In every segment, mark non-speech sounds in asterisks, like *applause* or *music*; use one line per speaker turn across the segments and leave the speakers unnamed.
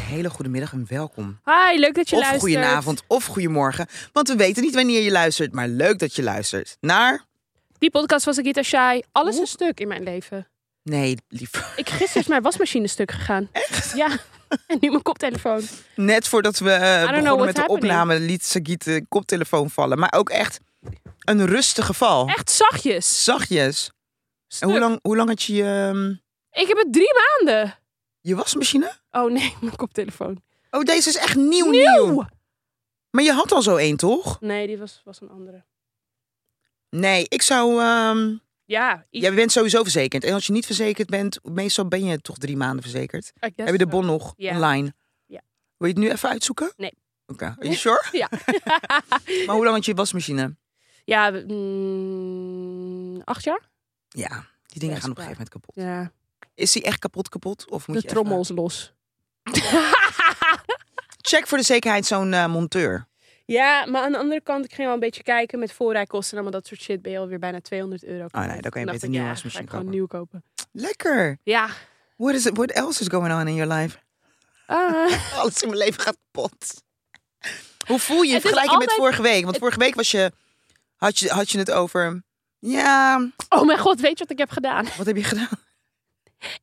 hele goede middag en welkom.
Hi, leuk dat je
of
luistert.
goedenavond of goedemorgen. Want we weten niet wanneer je luistert, maar leuk dat je luistert. Naar.
Die podcast was Agita Shai. Alles
Oeh.
een stuk in mijn leven.
Nee, liever.
Ik gisteren is mijn wasmachine stuk gegaan. Echt? Ja. En nu mijn koptelefoon.
*laughs* Net voordat we eh,
know
begonnen
what's
met de
happening.
opname, liet Sagiet de koptelefoon vallen. Maar ook echt een rustig geval.
Echt zachtjes.
Zachtjes. Oh. En
Stuk.
hoe lang, hoe lang had je je, ehm,
Ik heb het drie maanden.
je wasmachine?
Oh nee, mijn koptelefoon.
Oh, deze is echt nieuw, nieuw.
Nieuw.
Maar je had al zo één, toch?
Nee, die was, was een andere.
Nee, ik zou. ehm,
Ja. i-
Jij bent sowieso verzekerd. En als je niet verzekerd bent, meestal ben je toch drie maanden verzekerd.
I guess
Heb je de
so.
bon nog
Ja.
online?
Ja.
Wil je het nu even uitzoeken?
Nee.
Oké, are you sure?
Ja.
maar hoe lang had je wasmachine?
*laughs* ja, mm, acht jaar?
Ja, die dingen
Best
gaan op een
wel.
gegeven moment kapot.
Ja.
Is die echt kapot kapot? Of moet
De
je
trommel is
*laughs*
los.
even- Check voor de zekerheid zo'n eh, monteur.
Ja, maar aan de andere kant, ik ging wel een beetje kijken met voorrijkosten en allemaal dat soort shit. Ben je alweer bijna 200 euro. kwijt.
Oh, nee, dan kan je
Toen
beter
dacht ik,
een nieuwe
ja,
wasmachine
ga ik gewoon
kopen.
nieuw kopen.
Lekker.
Ja.
What, is it, what else is going on in your life?
Ah, *laughs*
Alles in mijn leven gaat kapot. Hoe voel je je in
Het is
vergelijking met
altijd-
vorige week? Want vorige week was je, had, je, had je het over... Ja,
oh mijn god, weet je wat ik heb gedaan?
wat heb je gedaan?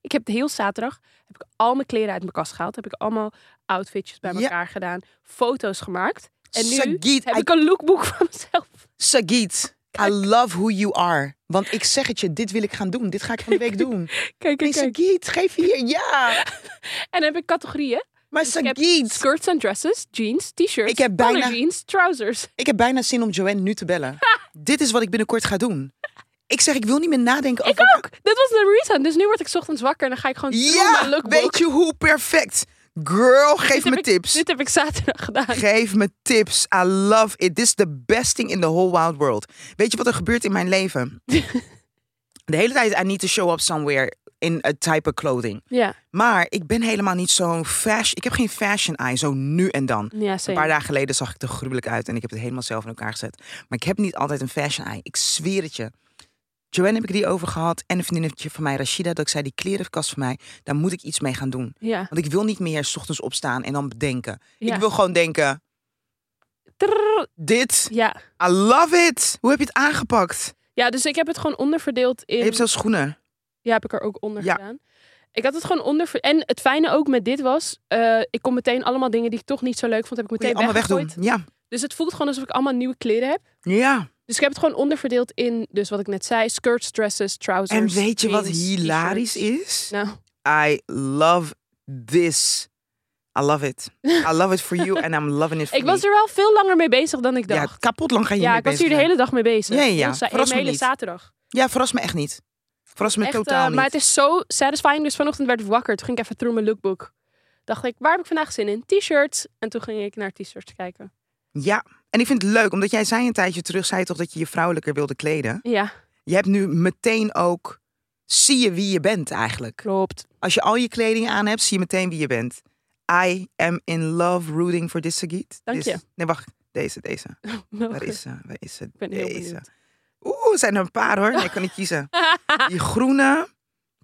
Ik heb de heel zaterdag heb ik al mijn kleren uit mijn kast gehaald. Heb ik allemaal outfitjes bij
Ja.
elkaar gedaan. Foto's gemaakt. En nu
Sagiet,
heb
I
ik een lookbook van mezelf. *laughs*
Sagit, I love who you are. Want ik zeg het je, dit wil ik gaan doen. Dit ga ik van de
*laughs*
week doen.
Kijk,
Nee,
kijk, kijk.
Sagit, geef hier. Ja,
En dan heb ik categorieën.
maar
Dus ik heb
Sagit.
skirts en dresses, jeans, t-shirts,
Ik heb bijna-
collar jeans, trousers.
Ik heb bijna zin om Joanne nu te
*laughs*
bellen. Dit is wat ik binnenkort ga doen. Ik zeg, ik wil niet meer nadenken
Ik
over...
ook! Dit was de reason. Dus nu word ik 's ochtends wakker en dan ga ik gewoon through mijn
Ja,
lookbook.
weet je hoe perfect? Girl, geef
Dit heb
me
ik-
tips.
Dit heb ik zaterdag gedaan.
Geef me tips. I love it. This is the best thing in the whole wild world. Weet je wat er gebeurt in mijn
*laughs*
leven? De hele tijd, I need to show up somewhere in a type of clothing.
Ja,
Maar ik ben helemaal niet zo'n fashion. Ik heb geen fashion eye, zo nu en dan.
ja
Een
same.
paar dagen geleden zag ik er gruwelijk uit en ik heb het helemaal zelf in elkaar gezet. Maar ik heb niet altijd een fashion eye. Ik zweer het je. Joanne heb ik die over gehad en een vriendinnetje van mij, Rashida, dat ik zei, die klerenkast van mij, daar moet ik iets mee gaan doen.
Ja.
Want ik wil niet meer 's ochtends opstaan en dan bedenken.
Ja.
Ik wil gewoon denken,
Trrr.
dit,
ja.
I love it. Hoe heb je het aangepakt?
Ja, dus ik heb het gewoon onderverdeeld in...
Je hebt zelfs schoenen.
Ja, heb ik er ook onder
Ja.
gedaan. Ik had het gewoon onder. En het fijne ook met dit was, eh, ik kon meteen allemaal dingen die ik toch niet zo leuk vond, heb ik
Moet je
meteen
allemaal
weggegooid.
wegdoen. Ja.
Dus het voelt gewoon alsof ik allemaal nieuwe kleren heb.
Ja.
Dus ik heb het gewoon onderverdeeld in, dus wat ik net zei, skirts, dresses, trousers.
En weet je wat
jeans,
hilarisch
t-shirts.
is?
Nou,
I love this. I love
*laughs*
it. I love it for you and I'm loving it for
ik was
me.
er wel veel langer mee bezig dan ik
ja,
dacht.
kapot lang ga je
Ja,
mee
ik was
bezig
hier de
zijn.
hele dag mee bezig.
Ja, ja, ja.
Heel sa-
Verras me
Een hele
niet.
zaterdag.
Ja, verras me echt niet. Verras me
Echt,
totaal
eh,
niet.
Maar het is zo satisfying. Dus vanochtend werd ik wakker. Toen ging ik even through mijn lookbook. Dacht ik, waar heb ik vandaag zin in? T-shirts. En toen ging ik naar t-shirts kijken.
Ja, en ik vind het leuk, omdat jij zei een tijdje terug, zei toch dat je je vrouwelijker wilde kleden.
Ja,
Je hebt nu meteen ook, zie je wie je bent eigenlijk.
klopt.
Als je al je kleding aan hebt, zie je meteen wie je bent. I am in love rooting for this Sagitt.
Dank
This-
je.
Nee, wacht. Deze, deze. Waar is ze? Waar is ze?
ben heel
deze.
benieuwd.
Oeh, er zijn er een paar hoor. Nee, ik kan niet
*laughs*
kiezen. Die groene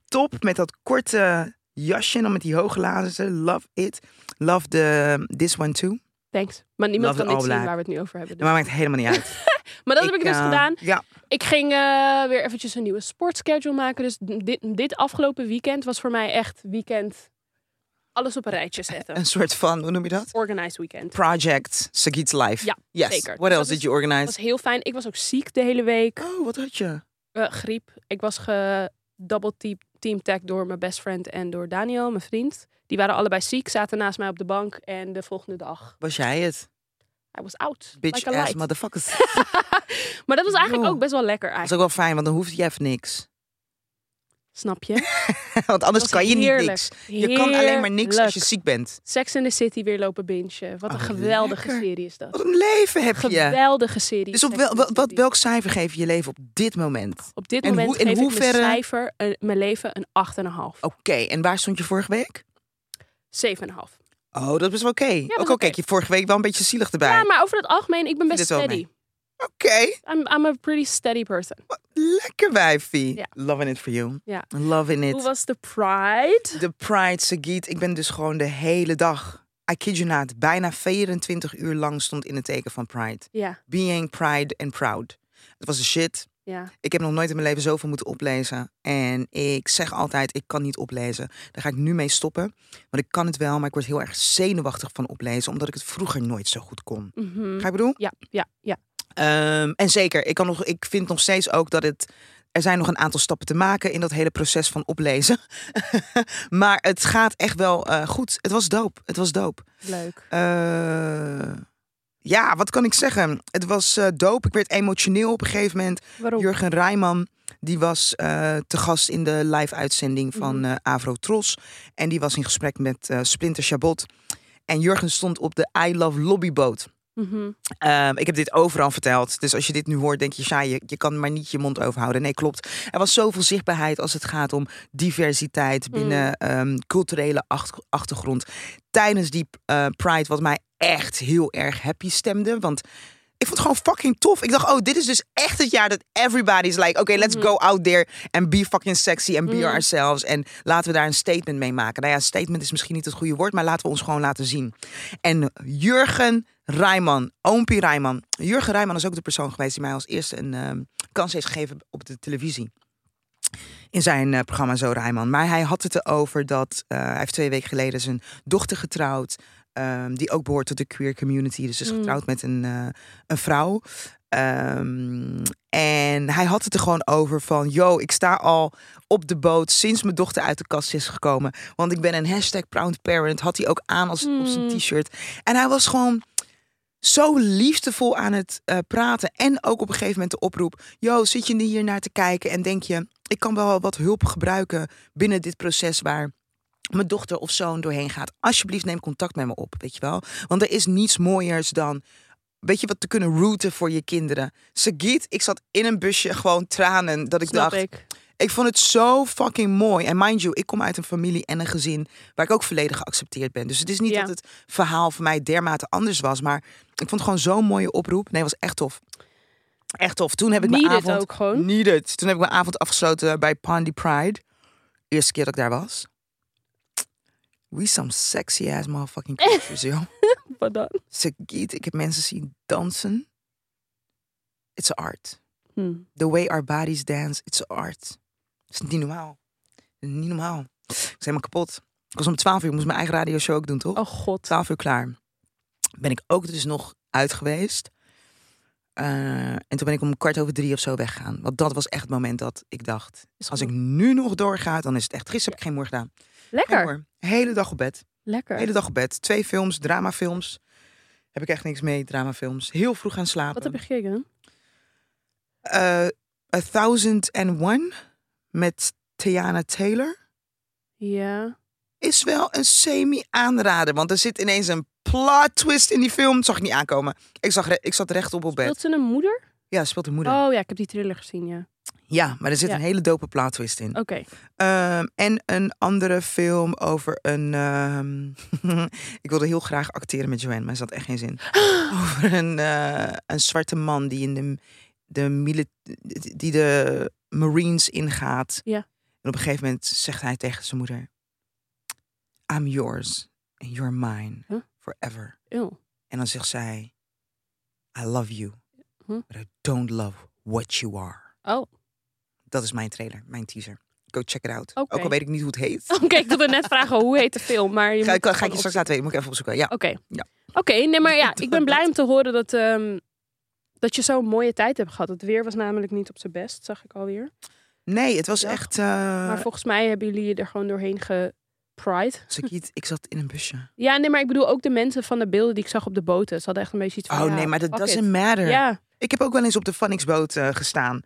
top met dat korte jasje en dan met die hoge lazen. Love it. Love the, this one too.
Thanks. Maar niemand
Love
kan
it
dit
all
zien waar
black.
we het nu over hebben. dus.
Maar maakt helemaal niet uit.
Maar *laughs* dat heb ik dus
eh,
gedaan.
Ja.
Ik ging eh, weer eventjes een nieuwe sportschedule maken. Dus dit, dit afgelopen weekend was voor mij echt weekend alles op een rijtje zetten.
Een soort van, hoe noem je dat?
Organized weekend.
Project Sagitt's Life.
Ja,
yes.
zeker.
What
Dat
else
is-
did you organize?
Het was heel fijn. Ik was ook ziek de hele week.
Oh, wat had je?
Eh, griep. Ik was gedouble team, team tag door mijn best friend en door Daniel, mijn vriend. Die waren allebei ziek, zaten naast mij op de bank. En de volgende dag,
Was jij het?
I was out.
Bitch
like a
ass
light.
motherfuckers. Dat
*laughs* Maar dat was eigenlijk
Yo.
ook best wel lekker
is
eigenlijk.
ook wel fijn, want dan hoeft je even niks. *laughs*
Snap je?
want anders
was
Dus kan je niet
heerlijk.
niks. Je kan alleen maar niks als je
Heerlijk.
ziek bent.
Sex in the City weer lopen bingen. Wat een
Oh,
geweldige
lekker.
serie is dat.
Wat een leven heb je.
Geweldige serie.
Dus op
Sex
wel,
and the
wat, wat-
City.
welk cijfer geef je je leven op dit moment?
Op dit
en
moment
hoe- in
geef ik
hoeverre- Oh.
mijn cijfer, een- mijn leven, een 8,5.
Oké, en waar stond je vorige week?
7,5.
Oh, dat was wel oké. Ook
was
al
oké.
kijk je vorige week wel een beetje zielig erbij.
Ja, maar over het algemeen, ik ben
Vind
best
het wel
steady.
Oké,
I'm, I'm a pretty steady person.
wat lekker wijfie.
Ja.
Loving it for you.
Ja.
Loving
Hoe
it.
was de Pride?
De Pride Sagiet. Ik ben dus gewoon de hele dag, I kid you not, bijna 24 uur lang stond in het teken van Pride.
Ja,
Being Pride and Proud. Het was de shit.
ja.
Ik heb nog nooit in mijn leven zoveel moeten oplezen. En ik zeg altijd, ik kan niet oplezen. Daar ga ik nu mee stoppen. Want ik kan het wel, maar ik word heel erg zenuwachtig van oplezen. Omdat ik het vroeger nooit zo goed kon.
Mhm.
Ga je bedoel?
Ja, ja, ja.
Ehm, en zeker, ik, kan nog, ik vind nog steeds ook dat het... Er zijn nog een aantal stappen te maken in dat hele proces van oplezen. *laughs* maar het gaat echt wel eh, goed. Het was doop. Het was doop.
Leuk.
Eh, ja, wat kan ik zeggen? Het was eh, doop. Ik werd emotioneel op een gegeven moment.
Waarom?
Jurgen Rijman, die was eh, te gast in de live-uitzending van
Mhm.
eh, Avro Tros. En die was in gesprek met eh, Splinter Chabot. En Jurgen stond op de I Love Lobbyboot.
Mhm.
Ehm, ik heb dit overal verteld. Dus als je dit nu hoort, denk je, ja, je, je kan maar niet je mond overhouden. Nee, klopt. Er was zoveel zichtbaarheid als het gaat om diversiteit binnen ehm, culturele acht- achtergrond. Tijdens die eh, Pride, wat mij echt heel erg happy stemde. Want ik vond het gewoon fucking tof. Ik dacht, oh, dit is dus echt het jaar dat everybody's like, oké, let's
Mhm.
go out there and be fucking sexy and be
Mhm.
ourselves. En laten we daar een statement mee maken. Nou ja, statement is misschien niet het goede woord, maar laten we ons gewoon laten zien. En Jurgen Rijman, oompie Rijman. Jurgen Rijman is ook de persoon geweest die mij als eerste een ehm, kans heeft gegeven op de televisie. In zijn eh, programma Zo Rijman. Maar hij had het erover dat eh, hij heeft twee weken geleden zijn dochter getrouwd. ehm, die ook behoort tot de queer community. Dus is
Mm.
getrouwd met een, eh, een vrouw. Ehm, en hij had het er gewoon over van... Yo, ik sta al op de boot sinds mijn dochter uit de kast is gekomen. Want ik ben een hashtag proud parent. Had hij ook aan als, op zijn
Mm.
t-shirt. En hij was gewoon zo liefdevol aan het eh, praten. En ook op een gegeven moment de oproep. Yo, zit je hier naar te kijken en denk je... Ik kan wel wat hulp gebruiken binnen dit proces waar mijn dochter of zoon doorheen gaat. Alsjeblieft neem contact met me op, weet je wel. Want er is niets mooiers dan, weet je wat, te kunnen rooten voor je kinderen. Sagiet, ik zat in een busje gewoon tranen. Dat ik
Snap
dacht,
ik.
ik vond het zo fucking mooi. En mind you, ik kom uit een familie en een gezin waar ik ook volledig geaccepteerd ben. Dus het is niet
Ja.
dat het verhaal voor mij dermate anders was. Maar ik vond het gewoon zo'n mooie oproep. Nee, het was echt tof. Echt tof. Toen heb ik mijn
Need it
avond...
ook gewoon.
Needed. Toen heb ik mijn avond afgesloten bij Pondy Pride. Eerste keer dat ik daar was. We some sexy ass motherfucking
*laughs*
creatures, joh.
Wat dan?
Sagiet, ik heb mensen zien dansen. It's a art.
Hm.
The way our bodies dance, it's art. Dat is niet normaal. Niet normaal. Ik was helemaal kapot. Ik was om 12 uur, ik moest mijn eigen radioshow ook doen, toch?
Oh god.
12 uur klaar. Ben ik ook dus nog uit geweest. Eh, en toen ben ik om kwart over drie of zo weggegaan. Want dat was echt het moment dat ik dacht...
Is
als ik
goed.
nu nog doorga, dan is het echt... Gisteren heb ik geen moer gedaan. Geen
Lekker.
moer. Hele dag op bed.
Lekker.
Hele dag op bed. Twee films, dramafilms. Heb ik echt niks mee, dramafilms. Heel vroeg gaan slapen
Wat heb je gekeken?
eh A Thousand and One met Tiana Taylor
Ja.
is wel een semi-aanrader. Want er zit ineens een plot twist in die film. Dat zag ik niet aankomen. Ik, zag re- ik zat rechtop op bed.
Speelt ze een moeder?
Ja, speelt de moeder.
Oh ja, ik heb die thriller gezien, ja.
Ja, maar er zit
Ja.
een hele dope plot twist in.
Oké.
Ehm, en een andere film over een... ehm, *laughs* ik wilde heel graag acteren met Joanne, maar ze had echt geen
*gasps*
zin. Over een, eh, een zwarte man die in de, de, mili- die de Marines ingaat.
Ja.
En op een gegeven moment zegt hij tegen zijn moeder... I'm yours and you're mine
Huh?
forever.
Ew.
En dan zegt zij... I love you,
Huh?
but I don't love what you are.
Oh, *laughs*
Dat is mijn trailer, mijn teaser. Go check it out.
Oké.
Ook al weet ik niet hoe het
*laughs*
heet.
oké. ik wilde net vragen hoe heet de film, maar je
Ga,
moet
ik- ga ik je
gewoon
straks laten weten. Moet ik even opzoeken. Ja.
Oké.
Ja.
Oké, nee, maar ja,
Dat-
ik ben blij
*laughs* dat-
om te horen dat, ehm, dat je zo'n mooie tijd hebt gehad. Het weer was namelijk niet op zijn best, zag ik alweer.
Nee, het was
Ja.
echt... eh,
Maar volgens mij hebben jullie je er gewoon doorheen gepride.
Sakiet, ik zat in een
*laughs*
busje.
Ja, nee, maar ik bedoel ook de mensen van de beelden die ik zag op de boten. Ze hadden echt een beetje iets van...
Oh
ja,
nee, maar dat
fuck
doesn't
it.
matter.
Ja,
Ik heb ook wel eens op de Vanningsboot eh, gestaan.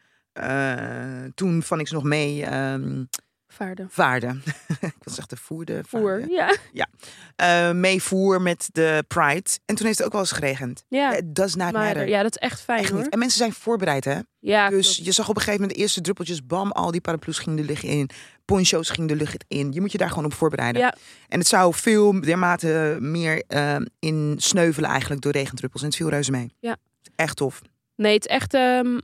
Eh, toen Vannix nog mee ehm
vaarden.
vaarde. *laughs* ik was echt de voerde.
Voer,
vaarde.
ja.
Eh, mee voer met de Pride. En toen heeft het ook wel eens geregend.
Ja,
It does not
maar,
matter.
ja dat is echt fijn
Echt
hoor.
niet. En mensen zijn voorbereid, hè?
Ja,
Dus
klopt.
je zag op een gegeven moment de eerste druppeltjes, bam, al die paraplu's gingen de lucht in. Poncho's gingen de lucht in. Je moet je daar gewoon op voorbereiden.
Ja.
En het zou veel dermate meer eh, in sneuvelen eigenlijk door regendruppels. En het viel reuze mee.
Ja.
Echt tof.
Nee, het is
*gasps*
echt ehm,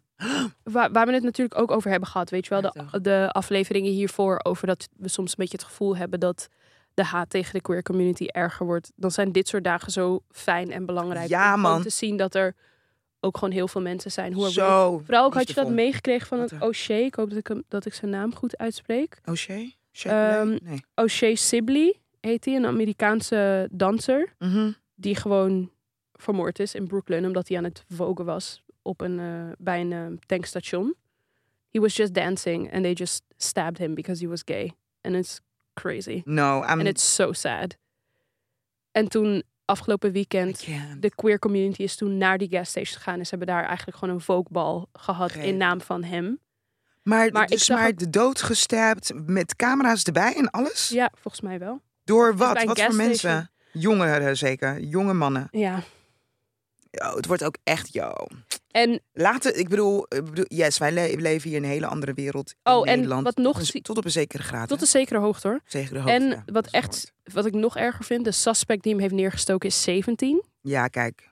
waar, waar we het natuurlijk ook over hebben gehad. Weet je wel,
Ja,
de, de afleveringen hiervoor over dat we soms een beetje het gevoel hebben dat de haat tegen de queer community erger wordt. Dan zijn dit soort dagen zo fijn en belangrijk.
Ja,
om
man.
Om te zien dat er ook gewoon heel veel mensen zijn. Hoe er wel-
Zo.
Vooral ook had je dat
liefdevol.
meegekregen van het
Wat er-
O'Shea. Ik hoop dat ik, hem, dat ik zijn naam goed uitspreek.
O'Shea? Shea?
Ehm,
nee.
O'Shea Sibley heet hij, een Amerikaanse danser.
Mhm.
Die gewoon vermoord is in Brooklyn omdat hij aan het vogen was op een, eh, bij een eh, tankstation. He was just dancing and they just stabbed him because he was gay. And it's crazy.
No, I'm...
And it's so sad. En toen afgelopen
I
weekend,
can't.
de queer community is toen naar die gas station gegaan. En ze hebben daar eigenlijk gewoon een voguebal gehad
Oké.
in naam van hem.
Maar,
maar ik
dus
zag
maar
ook-
de dood gestapt met camera's erbij en alles?
Ja, volgens mij wel.
Door wat?
bij een
Wat voor
gasstation.
mensen? Jongeren zeker. Jonge mannen.
Ja.
Yo, het wordt ook echt, yo.
En
Later, ik bedoel, eh, ik bedoel yes, wij le- leven hier in een hele andere wereld in
Oh, en
Nederland.
wat nog
Tot een-
zie-
Tot op een zekere graad.
tot
hè?
een zekere hoogte hoor.
zekere hoogte. ja,
En
dat
wat
is
echt,
moord.
wat ik nog erger vind, de suspect die hem heeft neergestoken is 17.
Ja, kijk.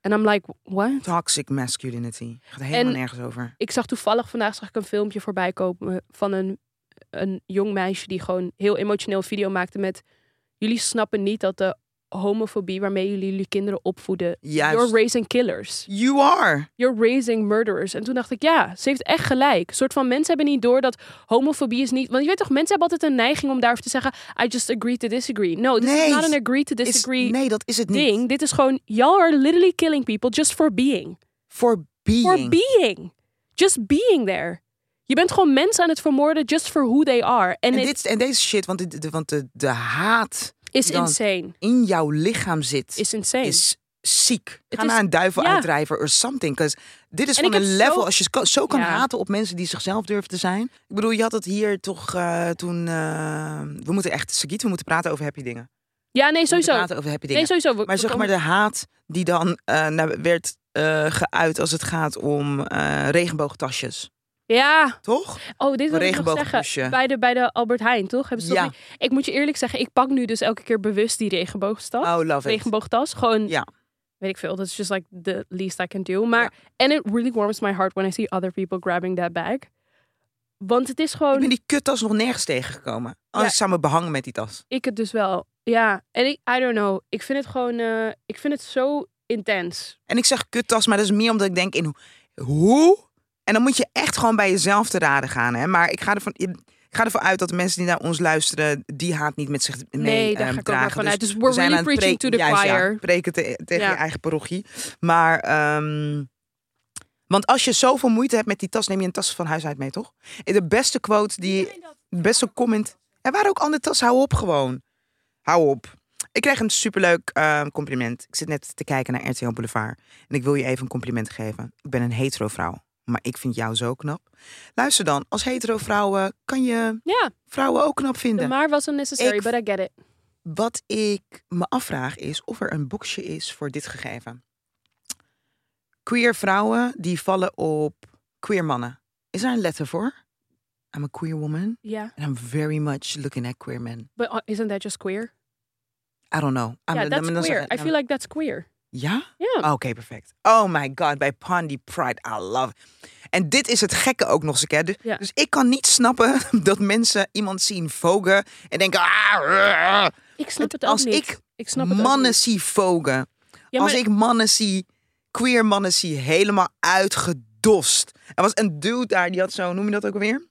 En I'm like, what?
Toxic masculinity. Gaat helemaal nergens over.
Ik zag toevallig vandaag zag ik een filmpje voorbij komen van een, een jong meisje die gewoon heel emotioneel video maakte met jullie snappen niet dat de homofobie waarmee jullie jullie kinderen opvoeden.
Juist.
You're raising killers.
You are.
You're raising murderers. En toen dacht ik, ja, ze heeft echt gelijk. Een soort van mensen hebben niet door dat homofobie is niet. Want je weet toch, mensen hebben altijd een neiging om daarover te zeggen: I just agree to disagree. No, this
Nee,
is not an agree to
Is-
disagree
nee, dat is het niet.
ding. Dit is gewoon, y'all are literally killing people just for being.
For being.
For being. Just being there. Je bent gewoon mensen aan het vermoorden just for who they are. En
En,
het
dit, en deze shit, want, dit- de, want de, de haat
is
dan-
insane.
in jouw lichaam zit,
Is insane.
is ziek.
Het
Ga
is-
naar een duiveluitdrijver of something. 'cause dit is
En
van
ik
een
heb
level.
zo-
Als je zo- zo kan
Ja.
haten op mensen die zichzelf durven te zijn. Ik bedoel, je had het hier toch eh, toen... eh, we moeten echt, Sagiet, we moeten praten over happy dingen.
ja, nee,
We moeten
sowieso.
praten over happy dingen.
Nee, sowieso. We-
Maar
we
zeg maar
komen-
de haat die dan eh, naar- werd eh, geuit als het gaat om eh, regenboogtasjes.
Ja.
Toch?
Oh, dit wil ik nog
regenbooghoesje.
zeggen. Bij de, bij de Albert Heijn, toch? Hebben ze toch
Ja.
niet- Ik moet je eerlijk zeggen, ik pak nu dus elke keer bewust die regenboogstad.
Oh, love it.
regenboogtas. Gewoon,
Ja.
weet ik veel. Dat is just like the least I can do. Maar, en it really warms my heart when I see other people grabbing that bag. Want het is
Ik
gewoon,
ben die kuttas nog nergens tegengekomen. Oh,
Ja.
ik zou me behangen met die tas.
ik het dus wel. Ja, en ik, I don't know. Ik vind het gewoon, eh, ik vind het zo intens.
En ik zeg kuttas, maar dat is meer omdat ik denk in ho- hoe? En dan moet je echt gewoon bij jezelf te raden gaan. Hè? Maar ik ga, ervan, ik ga ervan uit dat de mensen die naar ons luisteren... die haat niet met zich mee
Nee, daar
eh,
ga ik ook
dragen.
maar vanuit. Dus
we
we're
zijn
really
aan het
preaching to
pre-
the
juist, ja,
choir.
preken te- tegen
Ja.
je eigen parochie. Maar... ehm, want als je zoveel moeite hebt met die tas, neem je een tas van huis uit mee, toch? Eh, De beste quote die... De beste comment... Er waren ook andere tas, hou op gewoon. Hou op. Ik kreeg een superleuk eh, compliment. Ik zit net te kijken naar RTL Boulevard. En ik wil je even een compliment geven. Ik ben een hetero vrouw, maar ik vind jou zo knap. Luister dan, als hetero vrouwen kan je
Ja,
vrouwen ook knap
de
vinden.
maar was unnecessary,
Ik-
but I get it.
Wat ik me afvraag is of er een boxje is voor dit gegeven. Queer vrouwen die vallen op queer mannen. Is daar een letter voor? I'm a queer woman
Ja,
and I'm very much looking at queer men.
but uh, isn't that just queer?
I don't know. I'm-
Ja,
Ah, dan-
that's
dan zeg
queer.
ik-
I feel like that's queer.
Ja?
Ja.
Oké, perfect. Oh my god, bij Pondy Pride, I love it. En dit is het gekke ook nog eens een keer. Dus,
Ja.
dus ik kan niet snappen *laughs* dat mensen iemand zien vogen en denken... "Ah, ah, ah."
Ik snap het ook
als
niet.
ik
snap het ook
mannen
niet.
zie vogen.
Ja,
Als
maar-
ik mannen zie, queer mannen zie, helemaal uitgedost. Er was een dude daar, die had zo, noem je dat ook alweer?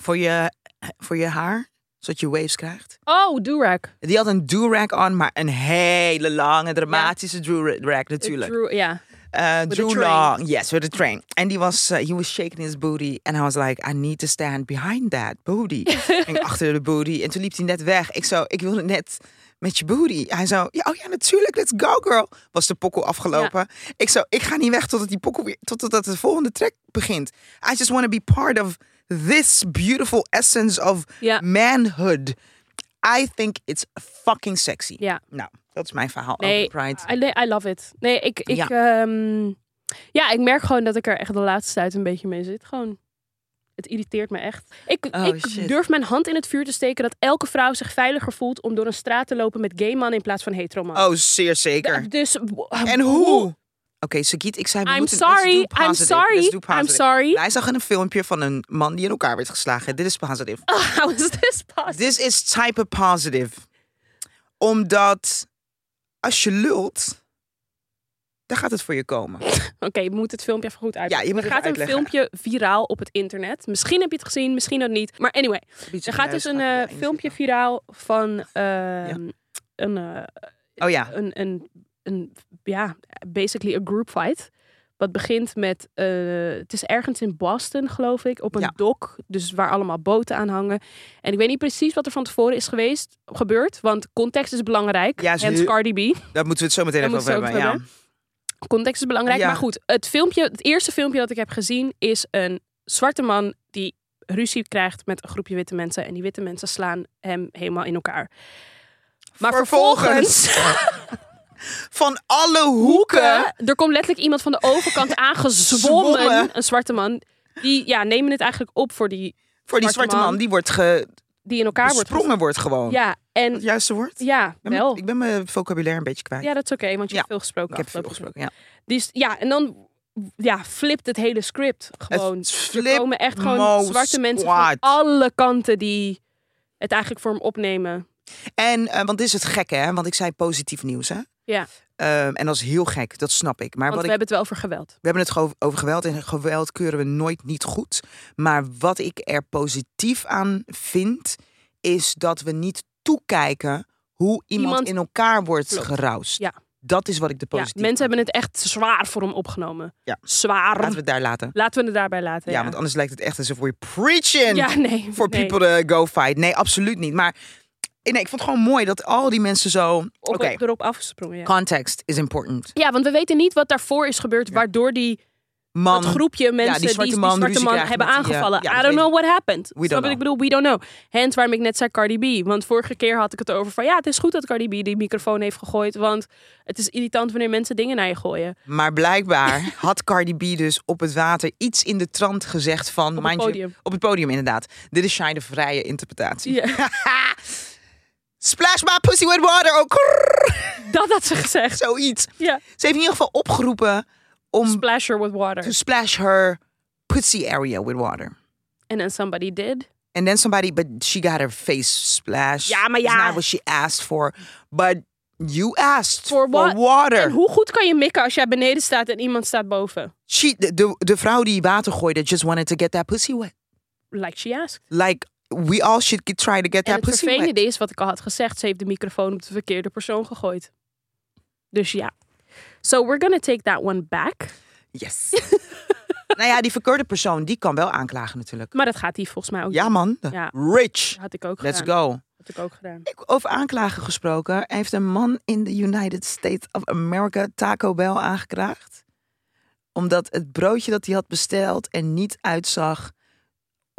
Voor je, voor je haar, zodat je waves krijgt.
Oh, Durak.
Die had een do-rag aan, maar een hele lange, dramatische do-rag natuurlijk.
Drew, ja.
Uh,
With
Drew
the train.
Long, yes, with the train. En die was, eh, he was shaking his booty. And I was like, I need to stand behind that
*laughs*
booty. Ging achter de booty. En toen liep hij net weg. Ik zo, ik wilde net met je booty. Hij zo, ja, oh ja, natuurlijk, let's go girl. Was de pokkel afgelopen. Ik zo, ik ga niet weg totdat die pokkel weer, totdat de volgende track begint. I just want to be part of this beautiful essence of
Ja.
manhood. I think it's fucking sexy.
Ja.
Nou, dat is mijn verhaal
Nee,
over Pride.
I, nee, I love it. Nee, ik, ik, ja. ja, ik merk gewoon dat ik er echt de laatste tijd een beetje mee zit. Gewoon, het irriteert me echt. Ik,
Oh,
ik
shit.
durf mijn hand in het vuur te steken dat elke vrouw zich veiliger voelt om door een straat te lopen met gay mannen in plaats van hetero mannen.
Oh, zeer zeker.
Dus
Oh, En hoe? Sagiet, ik zei... we
I'm
moeten- let's
sorry,
do
I'm
positive, let's
sorry,
do
I'm
positive.
sorry.
Hij zag een filmpje van een man die in elkaar werd geslagen. Dit is positive.
*laughs* Oh, how is this possible?
This is type of positive. Omdat als je lult, dan gaat het voor je komen.
Oké, je moet het filmpje even goed
Ja,
uitleggen.
je moet
er
het
gaat een
uitleggen.
filmpje viraal op het internet. Misschien heb je het gezien, misschien ook niet. Maar anyway, er gaat dus een eh, filmpje viraal van eh, een, eh,
Oh ja,
een, een, een, ja, basically een group fight. Wat begint met, eh, het is ergens in Boston, geloof ik, op een
Ja.
dok. Dus waar allemaal boten aan hangen. En ik weet niet precies wat er van tevoren is geweest, gebeurd. Want context is belangrijk.
Ja,
Ja,
ze-
Hence Cardi B.
daar moeten we het zo meteen
Daar
even over
moeten we
hebben.
het
Ja.
ook Context is belangrijk.
Ja.
Maar goed, het, filmpje, het eerste filmpje dat ik heb gezien is een zwarte man die ruzie krijgt met een groepje witte mensen. En die witte mensen slaan hem helemaal in elkaar. Maar
Vervolgens. *laughs* Van alle hoeken.
eh, er komt letterlijk iemand van de
*laughs*
overkant aangezwommen.
Zwommen.
een zwarte man. Die ja, nemen het eigenlijk op voor die,
Voor die
Zwarte
zwarte man,
man.
die wordt ge...
die in elkaar wordt gezet.
gesprongen wordt gewoon.
Ja, en
Het juiste woord?
ja,
Ik ben mijn-
wel.
Ik ben mijn vocabulaire een beetje kwijt.
Ja, dat is oké, want je
Ja,
hebt veel gesproken.
ik heb veel
afgelopen
gesproken, ja.
Dus ja, en dan ja, flipt het hele script gewoon.
Het
Er
flip
komen echt gewoon
Mo
zwarte mensen
squad.
van alle kanten die het eigenlijk voor hem opnemen.
En, eh, want dit is het gekke, hè? Want ik zei positief nieuws, hè?
Ja.
Ehm, en dat is heel gek, dat snap ik. Maar
Want we
wat ik,
hebben het wel over geweld.
we hebben het gewoon over geweld en geweld keuren we nooit niet goed. Maar wat ik er positief aan vind, is dat we niet toekijken hoe iemand,
Iemand-
in elkaar wordt
Klopt.
geroust.
Ja.
Dat is wat ik de
Ja,
positief.
mensen hebben het echt zwaar voor hem opgenomen.
Ja.
Zwaar.
Laten we het daar laten.
Laten we het daarbij laten.
Ja,
Ja,
want anders lijkt het echt alsof we preaching.
Ja, nee.
voor
nee.
people to go fight. Nee, absoluut niet. Maar eh, nee, ik vond het gewoon mooi dat al die mensen zo. Oké,
Op, erop afgesprongen. Ja.
context is important.
Ja, want we weten niet wat daarvoor is gebeurd, waardoor die
Man,
dat groepje mensen die
zwarte
die,
man
zwarte
ruzie
man
krijgt
hebben
met die, eh,
aangevallen.
ja,
I
dat
don't
weet
know what happened. Snap
don't
wat
know.
Ik bedoel, we don't know. Hence waarom ik net zei Cardi B. Want vorige keer had ik het over van ja, het is goed dat Cardi B die microfoon heeft gegooid, want het is irritant wanneer mensen dingen naar je gooien. *laughs*
maar blijkbaar *laughs* had Cardi B dus op het water iets in de trant gezegd van.
Op
mind
het
you-
podium.
op het podium, inderdaad. Dit is Shine de vrije interpretatie.
Ja.
*laughs* Splash my pussy with water. Oh, krrr,
dat had ze gezegd.
*laughs* zoiets.
Ja.
Ze heeft in ieder geval opgeroepen om
Splasher with
to
water.
splash her pussy area with water.
And then somebody did.
And then somebody, but she got her face splashed.
Ja, maar
It's
ja.
not what she asked for. But you asked
For
for,
what? En
water.
hoe goed kan je mikken als jij beneden staat en iemand staat boven?
She, de, de, de vrouw die water gooide just wanted to get that pussy wet.
Like she asked.
Like, we all should get, try to get
En
that
het
pussy wet.
vervelende is, wat ik al had gezegd, ze heeft de microfoon op de verkeerde persoon gegooid. Dus ja. So we're gonna take that one back.
Yes. nou ja, die verkeerde persoon, die kan wel aanklagen natuurlijk.
Maar dat gaat hij volgens mij ook
Ja
doen.
man,
Oh, Ja.
rich.
Dat had ik ook
Let's
gedaan.
go.
Dat had ik ook gedaan.
Ik- Over aanklagen gesproken, heeft een man in de United States of America Taco Bell aangeklaagd. Omdat het broodje dat hij had besteld er niet uitzag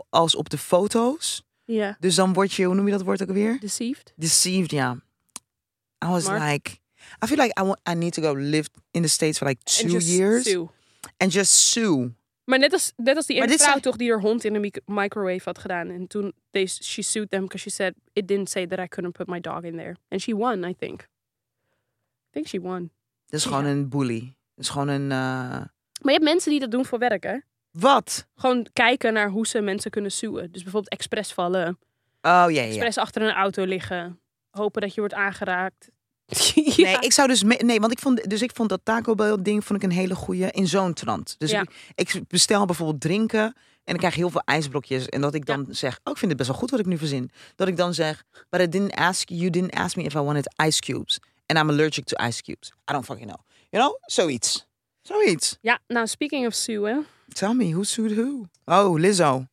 als op de foto's.
Ja.
Dus dan word je, hoe noem je dat woord ook weer?
Deceived.
Deceived, ja. I was
Maar-
like, I feel like I, want, I need to go live in the States for like
And
two
just
years.
sue.
And just sue.
Maar net als, net als die
Maar
ene
dit
vrouw
zijn-
toch die haar hond in de mic- microwave had gedaan. En toen, they, she sued them because she said, it didn't say that I couldn't put my dog in there. And she won, I think. I think she won.
Dat is gewoon een bully. Dat is gewoon een, eh,
Maar je hebt mensen die dat doen voor werk, hè?
wat?
Gewoon kijken naar hoe ze mensen kunnen suwen. Dus bijvoorbeeld expres vallen.
Oh ja, ja, ja.
Expres achter een auto liggen. Hopen dat je wordt aangeraakt. *laughs*
Nee, ik zou dus me- nee, want ik vond dus ik vond dat Taco Bell ding vond ik een hele goeie in zo'n trant. Dus
Ja.
ik, ik bestel bijvoorbeeld drinken en dan krijg je heel veel ijsbrokjes en dat ik dan zeg, oh ik vind het best wel goed wat ik nu verzin. Dat ik dan zeg, but I didn't ask you didn't ask me if I wanted ice cubes and I'm allergic to ice cubes. I don't fucking know. You know, zoiets. Zoiets.
Ja, nou, speaking of suwen.
Tell me who sued who. Oh, Lizzo.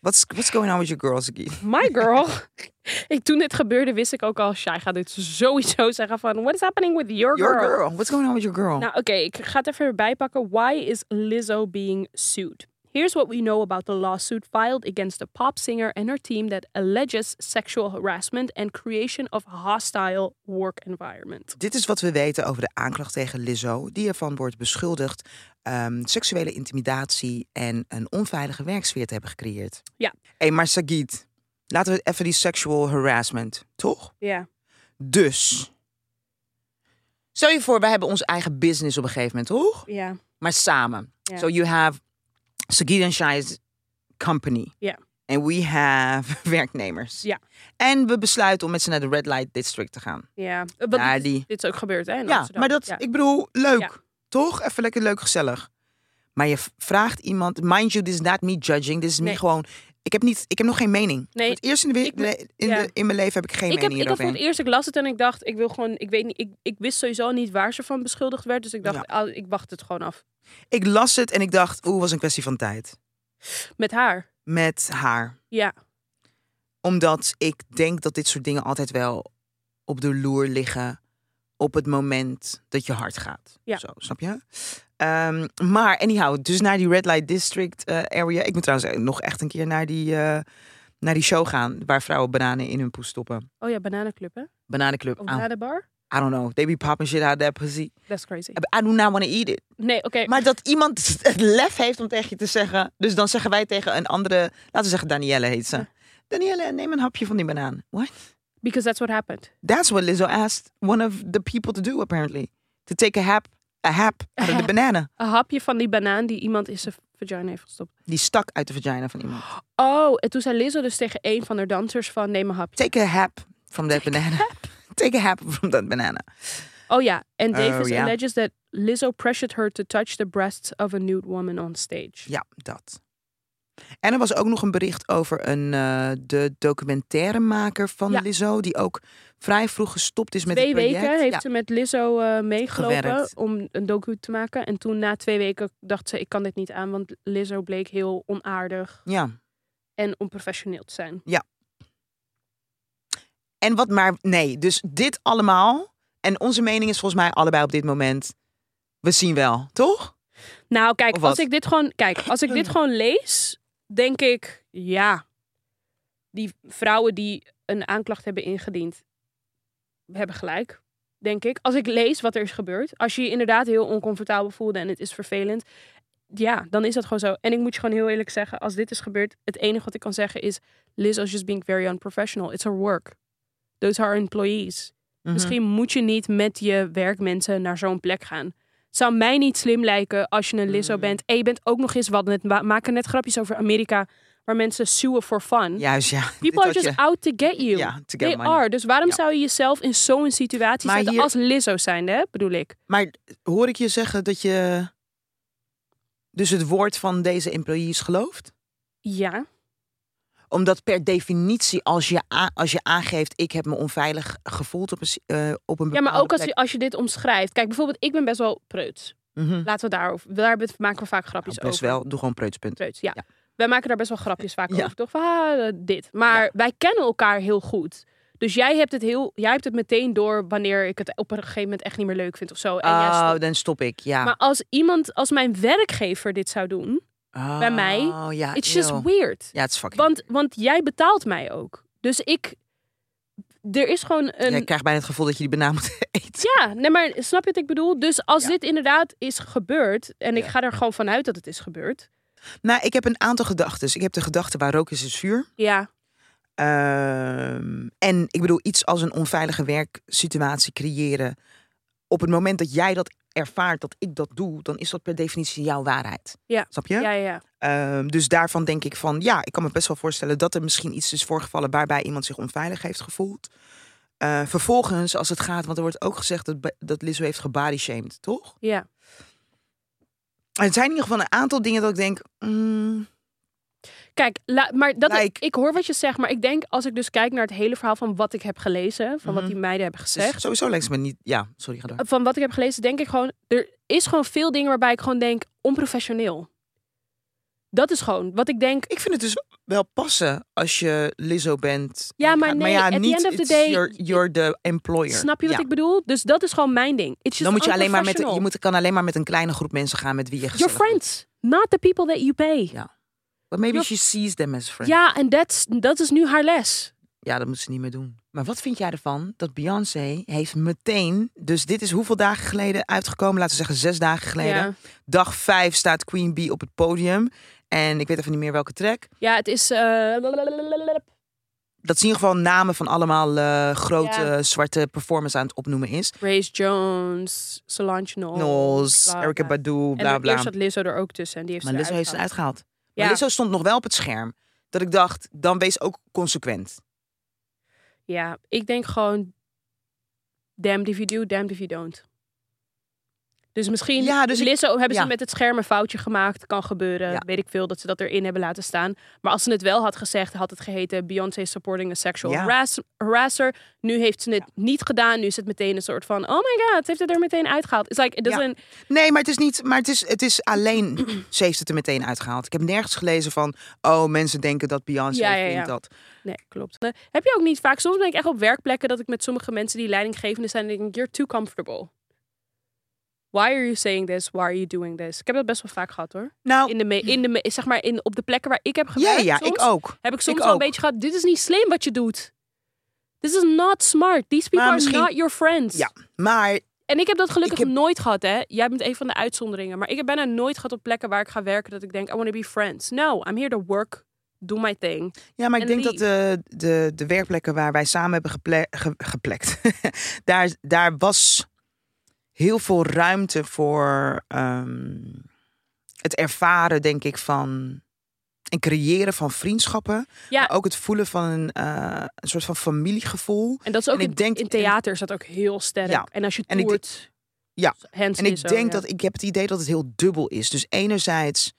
What's what's going on with your girls again?
My girl. *laughs* ik, toen dit gebeurde wist ik ook al, Shai gaat dit sowieso zeggen van, what is happening with your,
Your girl. What's going on with your girl?
Nou oké, ik ga het even erbij pakken. Why is Lizzo being sued? Here's what we know about the lawsuit filed against the pop singer and her team that alleges sexual harassment and creation of hostile work environment.
Dit is wat we weten over de aanklacht tegen Lizzo, die ervan wordt beschuldigd ehm, seksuele intimidatie en een onveilige werksfeer te hebben gecreëerd.
Ja.
Hé, maar Sagit, laten we even die sexual harassment, toch?
Ja.
Dus, Stel je voor, wij hebben onze eigen business op een gegeven moment, toch?
Ja.
maar samen.
Ja.
So you have Sagid and Shai's company.
Ja.
En we have *laughs* werknemers.
Ja.
En we besluiten om met z'n naar de Red Light District te gaan.
Ja. Eh, want
Ja,
dit, is-
die-
dit is ook gebeurd, hè? in
ja,
Amsterdam.
maar dat,
Ja.
ik bedoel, leuk.
Ja.
Toch? Even lekker leuk, gezellig. Maar je v- vraagt iemand, mind you, this is not me judging. Dit is
Nee.
me gewoon, ik heb, niet, ik heb nog geen mening.
Nee,
Voor het eerst in, de, we-
ik ben-
in,
ja.
de- in mijn leven heb ik geen
ik heb,
mening
ik heb voor
hierover.
het eerst, ik las het en ik dacht, ik wil gewoon, ik weet niet, ik, ik wist sowieso niet waar ze van beschuldigd werd. Dus ik dacht,
Ja.
ah, ik wacht het e- gewoon af.
Ik las het en ik dacht, oeh, was een kwestie van tijd.
Met haar.
Met haar.
Ja.
Omdat ik denk dat dit soort dingen altijd wel op de loer liggen op het moment dat je hard gaat.
Ja.
Zo, snap je? Ehm, maar anyhow, dus naar die Red Light District eh, area. Ik moet trouwens nog echt een keer naar die, eh, naar die show gaan... waar vrouwen bananen in hun poes stoppen.
Oh ja, Bananenclub, hè?
Bananenclub.
Of
I don't-
Bananenbar?
I don't know. They be popping shit out that pussy.
That's crazy.
I do not want to eat it.
Nee, oké.
Eh, Maar dat iemand *laughs* het lef heeft om tegen je te zeggen. Dus dan zeggen wij tegen een andere. Laten we zeggen, Danielle heet ze. Danielle, neem een hapje van die banaan. What?
Because that's what happened.
That's what Lizzo asked one of the people to do, apparently. To take a hap, a hap out of the banana.
Een hapje van die banaan die iemand in zijn vagina heeft gestopt.
Die stak uit de vagina van iemand.
Oh, en toen zei Lizzo dus tegen een van haar dansers van, neem een hapje.
Take a hap from that banana. *laughs* Take a hap from that banana.
Oh ja, en
Oh,
Davis
ja.
alleges that Lizzo pressured her to touch the breasts of a nude woman on stage.
Ja, dat. En er was ook nog een bericht over een, eh, de documentairemaker van
Ja.
Lizzo. Die ook vrij vroeg gestopt is met
twee
het project.
weken heeft
Ja.
ze met Lizzo eh, meegelopen
Gewerkt.
om een docu te maken. En toen na twee weken dacht ze, ik kan dit niet aan, want Lizzo bleek heel onaardig
ja.
en onprofessioneel te zijn.
En wat maar, nee, dus dit allemaal. En onze mening is volgens mij allebei op dit moment. We zien wel, toch?
Nou,
Of
kijk,
wat?
als ik dit gewoon, kijk, als ik
*clears throat*
dit gewoon lees, denk ik, ja, die vrouwen die een aanklacht hebben ingediend, hebben gelijk. Denk ik. Als ik lees wat er is gebeurd, als je je inderdaad heel oncomfortabel voelde en het is vervelend, ja, dan is dat gewoon zo. En ik moet je gewoon heel eerlijk zeggen, als dit is gebeurd, het enige wat ik kan zeggen is, Liz was just being very unprofessional. It's her work. Those are her employees.
Mhm.
Misschien moet je niet met je werkmensen naar zo'n plek gaan. Het zou mij niet slim lijken als je een Lizzo
Mm.
bent. En je bent ook nog eens wat. Net, we maken net grapjes over Amerika waar mensen suwen for fun.
Juist, ja. Dit
Hm. People are
had
just
je-
out to get you.
Ja, to
They
get money.
are. Dus waarom
Ja.
zou je jezelf in zo'n situatie
Maar
zetten
hier-
als Lizzo zijnde, hè? bedoel ik?
Maar hoor ik je zeggen dat je. Dus het woord van deze employees gelooft?
Ja.
Omdat per definitie, als je, a- als je aangeeft, ik heb me onveilig gevoeld op een, si- eh, op een
Ja, maar
bepaalde
ook als je,
plek.
als je dit omschrijft. Kijk, bijvoorbeeld, ik ben best wel preuts.
Mhm. Nou,
Laten we daarover. Daar maken we vaak grapjes
best
over.
wel, doe gewoon preutspunt.
Preuts, ja.
Ja.
Wij maken daar best wel grapjes vaak
Ja.
over, toch? Van, ah, eh, dit. Maar wij kennen elkaar heel goed. Dus jij hebt, het heel, jij hebt het meteen door wanneer ik het op een gegeven moment echt niet meer leuk vind of zo. En jij
Oh,
stopt.
dan stop ik, ja.
Maar als iemand, als mijn werkgever dit zou doen, bij mij,
Oh, ja,
it's just
eeuw.
weird.
Ja, het is fucking.
Want, want jij betaalt mij ook. Dus ik, er is gewoon een...
Je krijgt bijna het gevoel dat je die banaan *laughs* moet eten.
Ja, nee, maar snap je wat ik bedoel? Dus als
Ja.
dit inderdaad is gebeurd, en ik
Ja.
ga er gewoon vanuit dat het is gebeurd.
Nou, ik heb een aantal gedachten. Ik heb de gedachte waar rook is, is vuur.
Ja,
Ehm, en ik bedoel, iets als een onveilige werksituatie creëren. Op het moment dat jij dat ervaart, dat ik dat doe, dan is dat per definitie jouw waarheid.
Ja.
Snap je?
ja, ja. ja.
Ehm, dus daarvan denk ik van, ja, ik kan me best wel voorstellen dat er misschien iets is voorgevallen waarbij iemand zich onveilig heeft gevoeld. Eh, vervolgens, als het gaat, want er wordt ook gezegd dat, be- dat Lizzo heeft gebodyshamed, toch?
ja.
Er zijn in ieder geval een aantal dingen dat ik denk, mm,
Kijk, la- maar dat
Like-
ik hoor wat je zegt, maar ik denk als ik dus kijk naar het hele verhaal van wat ik heb gelezen, van wat
Mhm.
die meiden hebben
dus
gezegd,
sowieso lijkt ze me niet, ja, sorry, ga door.
van wat ik heb gelezen, denk ik gewoon, er is gewoon veel dingen waarbij ik gewoon denk onprofessioneel. Dat is gewoon wat ik denk.
Ik vind het dus wel passen als je Lizzo bent.
Ja, maar nee,
ja,
at the
niet,
end of the
it's
day-
You're, you're the employer.
Snap je wat
Ja.
ik bedoel? Dus dat is gewoon mijn ding. It's just
Dan moet je alleen maar met, je
unprofessional.
moet, kan alleen maar met een kleine groep mensen gaan met wie je
your
gezellig bent.
friends, not the people that you pay.
Ja, But maybe
your-
she sees them as friends. Ja.
Ja, en that's dat is nu haar les.
dat moet ze niet meer doen. Maar wat vind jij ervan dat Beyoncé heeft meteen... Dus dit is hoeveel dagen geleden uitgekomen? Laten we zeggen zes dagen geleden.
Ja.
Dag vijf staat Queen Bee op het podium. En ik weet even niet meer welke track.
ja, het is. eh,
Dat is in ieder geval namen van allemaal eh, grote
Ja.
zwarte performers aan het opnoemen is.
Grace Jones, Solange Knowles.
Knowles,
Oh, bla, bla.
Erika Badu,
En
bla bla.
eerst zat Lizzo er ook tussen. En die heeft
Maar
ze
Lizzo heeft ze
eruit
uitgehaald.
gehaald.
Maar Lizzo stond nog wel op het scherm. Dat ik dacht, dan wees ook consequent.
ja, ja, ik denk gewoon... Damned if you do, damned if you don't. Dus misschien
Ja, dus ik-
Lizzo hebben ze
ja.
met het scherm een foutje gemaakt. Kan gebeuren.
Ja.
Weet ik veel dat ze dat erin hebben laten staan. Maar als ze het wel had gezegd, had het geheten Beyoncé supporting a sexual
Ja.
harass- harasser. Nu heeft ze het niet gedaan. Nu is het meteen een soort van, oh my god, heeft het er meteen uitgehaald. It's like, it
Ja.
doesn't...
Nee, maar het is niet. Maar het is, het is
*clears throat*
alleen. Ze heeft het er meteen uitgehaald. Ik heb nergens gelezen van. Oh, mensen denken dat Beyoncé
Ja, ja, ja.
vindt dat.
Nee, klopt. Eh, Heb je ook niet vaak, soms ben ik echt op werkplekken dat ik met sommige mensen die leidinggevende zijn, denk ik, you're too comfortable. Why are you saying this? Why are you doing this? Ik heb dat best wel vaak gehad hoor.
Nou,
In de me, in de me, zeg maar in, op de plekken waar ik heb
ja,
gewerkt.
ja,
soms,
ik ook.
Heb ik soms
Ik
wel een
ook.
beetje gehad, dit is niet slim wat je doet. This is not smart. These people
Maar
are
misschien-
not your friends.
Ja, maar
En ik heb dat gelukkig
Ik heb-
nooit gehad, hè. Jij bent een van de uitzonderingen. Maar ik heb bijna nooit gehad op plekken waar ik ga werken dat ik denk, I want to be friends. No, I'm here to work. Do my thing.
Ja, maar ik
En
denk dat de, de, de werkplekken waar wij samen hebben geple- ge- geplekt, *laughs* daar, daar was heel veel ruimte voor ehm, het ervaren, denk ik, van en creëren van vriendschappen.
Ja.
Maar ook het voelen van een, eh, een soort van familiegevoel.
En dat is ook
En ik
in,
denk-
in theater is dat ook heel sterk.
Ja.
En als je
En ik
toert,
Ja.
hands
En
in
ik
zo,
denk
ja.
dat ik heb het idee dat het heel dubbel is. Dus enerzijds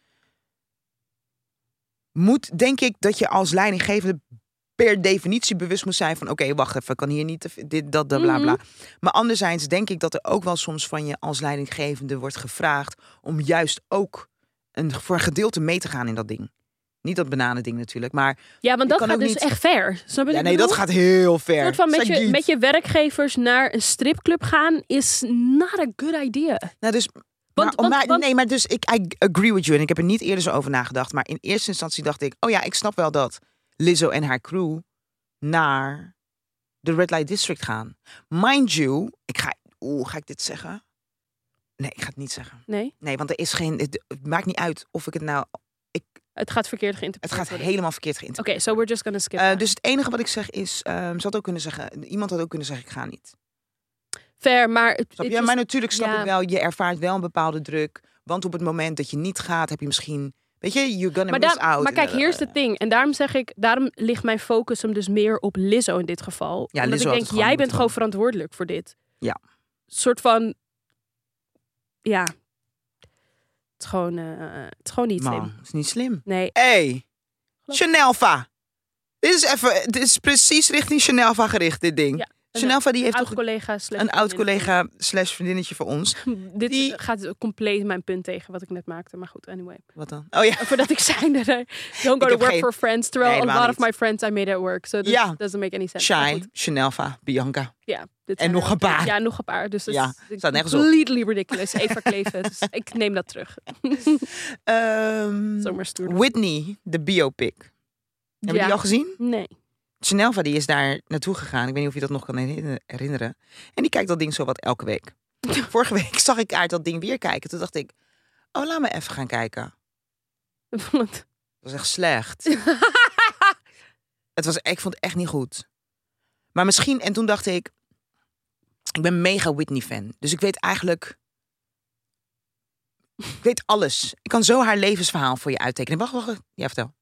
moet, denk ik, dat je als leidinggevende per definitie bewust moet zijn van oké, wacht even, ik kan hier niet te v- dit dat dat, bla bla.
Mhm.
Maar anderzijds denk ik dat er ook wel soms van je als leidinggevende wordt gevraagd om juist ook een, voor een gedeelte mee te gaan in dat ding. Niet dat bananending natuurlijk, maar
ja, want
ik
dat
kan
gaat
ook
dus
niet-
echt ver. Snap je?
ja, nee, dat gaat heel ver.
Soort van met,
Zijn
je,
dude.
met je werkgevers naar een stripclub gaan is not a good idea.
Nou, dus maar,
Want, want,
maar-
want-
nee, maar dus ik I agree with you. En ik heb er niet eerder zo over nagedacht. Maar in eerste instantie dacht ik, oh ja, ik snap wel dat Lizzo en haar crew naar de Red Light District gaan. Mind you, ik ga, oeh, ga ik dit zeggen? Nee, ik ga het niet zeggen.
nee,
Nee, want er is geen, het, het maakt niet uit of ik het nou,
het gaat verkeerd
het
geïnterpreteerd
gaat
worden.
helemaal verkeerd geïnterpreteerd.
Oké, so we're just gonna skip
Eh,
that.
dus het enige wat ik zeg is, ehm, ze had ook kunnen zeggen, iemand had ook kunnen zeggen, ik ga niet.
Fair, maar... het-
Snap
het
je?
is-
maar natuurlijk snap
ja.
ik wel, je ervaart wel een bepaalde druk. Want op het moment dat je niet gaat, heb je misschien... Weet je, you're gonna
maar,
miss
daar-
out. Eh,
maar kijk, hier is
de
het ding. En daarom zeg ik, daarom ligt mijn focus hem dus meer op Lizzo in dit geval.
Ja,
Omdat
Lizzo had
ik
het
denk,
gewoon
jij
moeten
bent gewoon verantwoordelijk voor dit.
Ja.
soort van, ja, het is gewoon, eh, het is gewoon niet
Man,
slim.
is niet slim.
Nee,
Hey,
Geloof-
Chanelva. Dit is even, dit is precies richting Chanelva gericht, dit ding.
Ja, een
Chanelva die heeft
oud
toch
collega slash
een oud
vriendin.
collega slash vriendinnetje van ons.
*laughs* Dit
die-
gaat compleet mijn punt tegen wat ik net maakte, maar goed, anyway. *laughs*
Wat dan? Oh ja,
Voordat ik zei dat I don't go
heb
to work
geen-
for friends, terwijl
Nee,
a lot
helemaal
of my friends I made at work, so this
Ja.
doesn't make any sense. Maar
Shine,
goed,
Chanelva, Bianca.
Ja,
En
dit zijn
nog
er-
een paar.
Ja, nog een paar. Dus het
Ja,
is
staat nergens op.
completely
*laughs*
ridiculous. Eva Kleven, dus ik neem dat terug.
Ehm,
Zomaar stoer.
Whitney, de biopic. Heb je
Ja.
die al gezien?
Nee. *laughs*
Chanelva die is daar naartoe gegaan. Ik weet niet of je dat nog kan herinner- herinneren. En die kijkt dat ding zo wat elke
*laughs*
week. Vorige week zag ik haar dat ding weer kijken. Toen dacht ik, oh laat me even gaan kijken. Het was echt slecht. het was, ik vond het echt niet goed. Maar misschien, en toen dacht ik, ik ben mega Whitney-fan. Dus ik weet eigenlijk, ik weet alles. Ik kan zo haar levensverhaal voor je uittekenen. Wacht, wacht, wacht. Ja, vertel.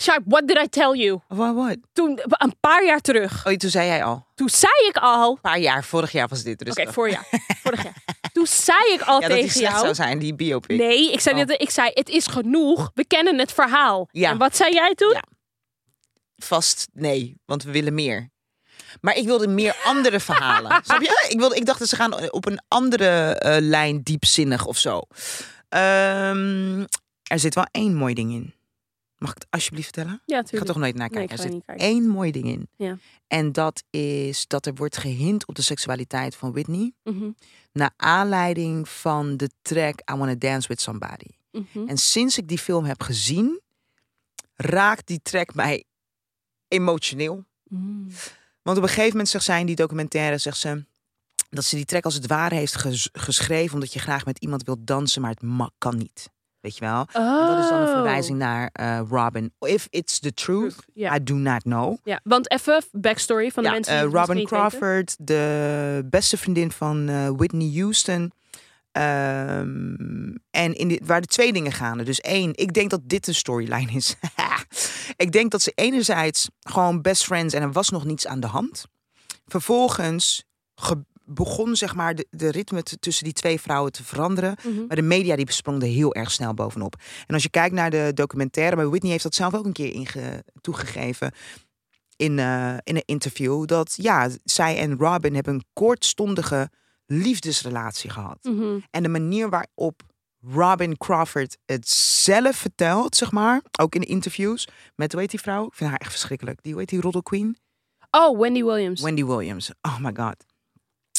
Sharp, what did I tell you?
What, what?
Toen, een paar jaar terug,
Oh, toen zei jij al. Een
toen zei ik al
paar jaar, vorig jaar was dit. Dus
Oké, vorig
*laughs*
jaar. Vorig jaar. Toen zei ik al
ja, dat die
tegen
slecht
jou.
zou zijn, die biopic.
Nee, ik zei,
Oh.
net, ik zei, het is genoeg. We kennen het verhaal.
Ja.
En wat zei jij toen?
Ja. Vast nee, want we willen meer. Maar ik wilde meer andere
*laughs*
verhalen. Snap je? Ik, wilde, ik dacht dat ze gaan op een andere eh, lijn diepzinnig of zo. Ehm, er zit wel één mooi ding in. Mag ik het alsjeblieft vertellen?
Ja,
Ik ga
tuurlijk.
toch nooit
Nee,
nakijken.
ik ga
er zit
niet kijken.
één mooi ding in.
Ja.
En dat is dat er wordt gehind op de seksualiteit van Whitney.
Mhm,
Naar aanleiding van de track I Wanna Dance With Somebody.
mhm.
En sinds ik die film heb gezien, raakt die track mij emotioneel.
Mm.
Want op een gegeven moment zegt zij in die documentaire, zegt ze, dat ze die track als het ware heeft ges- geschreven omdat je graag met iemand wilt dansen, maar het ma- kan niet. Weet je wel?
Oh.
En Dat is dan een verwijzing naar eh, Robin. If it's the truth,
Ja.
I do not know.
ja, want even backstory van de
ja,
mensen
eh,
die het misschien
Robin
niet weten.
Crawford, de beste vriendin van eh, Whitney Houston. Ehm, en in dit waar de twee dingen gaan. Dus één, ik denk dat dit een storyline is. *laughs* ik denk dat ze enerzijds gewoon best friends en er was nog niets aan de hand. Vervolgens ge- begon zeg maar de, de ritme t- tussen die twee vrouwen te veranderen.
Mhm.
Maar de media die sprong er heel erg snel bovenop. En als je kijkt naar de documentaire, maar Whitney heeft dat zelf ook een keer inge- toegegeven in, eh, in een interview, dat ja, zij en Robin hebben een kortstondige liefdesrelatie gehad.
Mhm.
En de manier waarop Robin Crawford het zelf vertelt, zeg maar, ook in de interviews met, hoe heet die vrouw? Ik vind haar echt verschrikkelijk. Die, hoe heet die, Roddle Queen?
Oh, Wendy Williams.
Wendy Williams. Oh my god.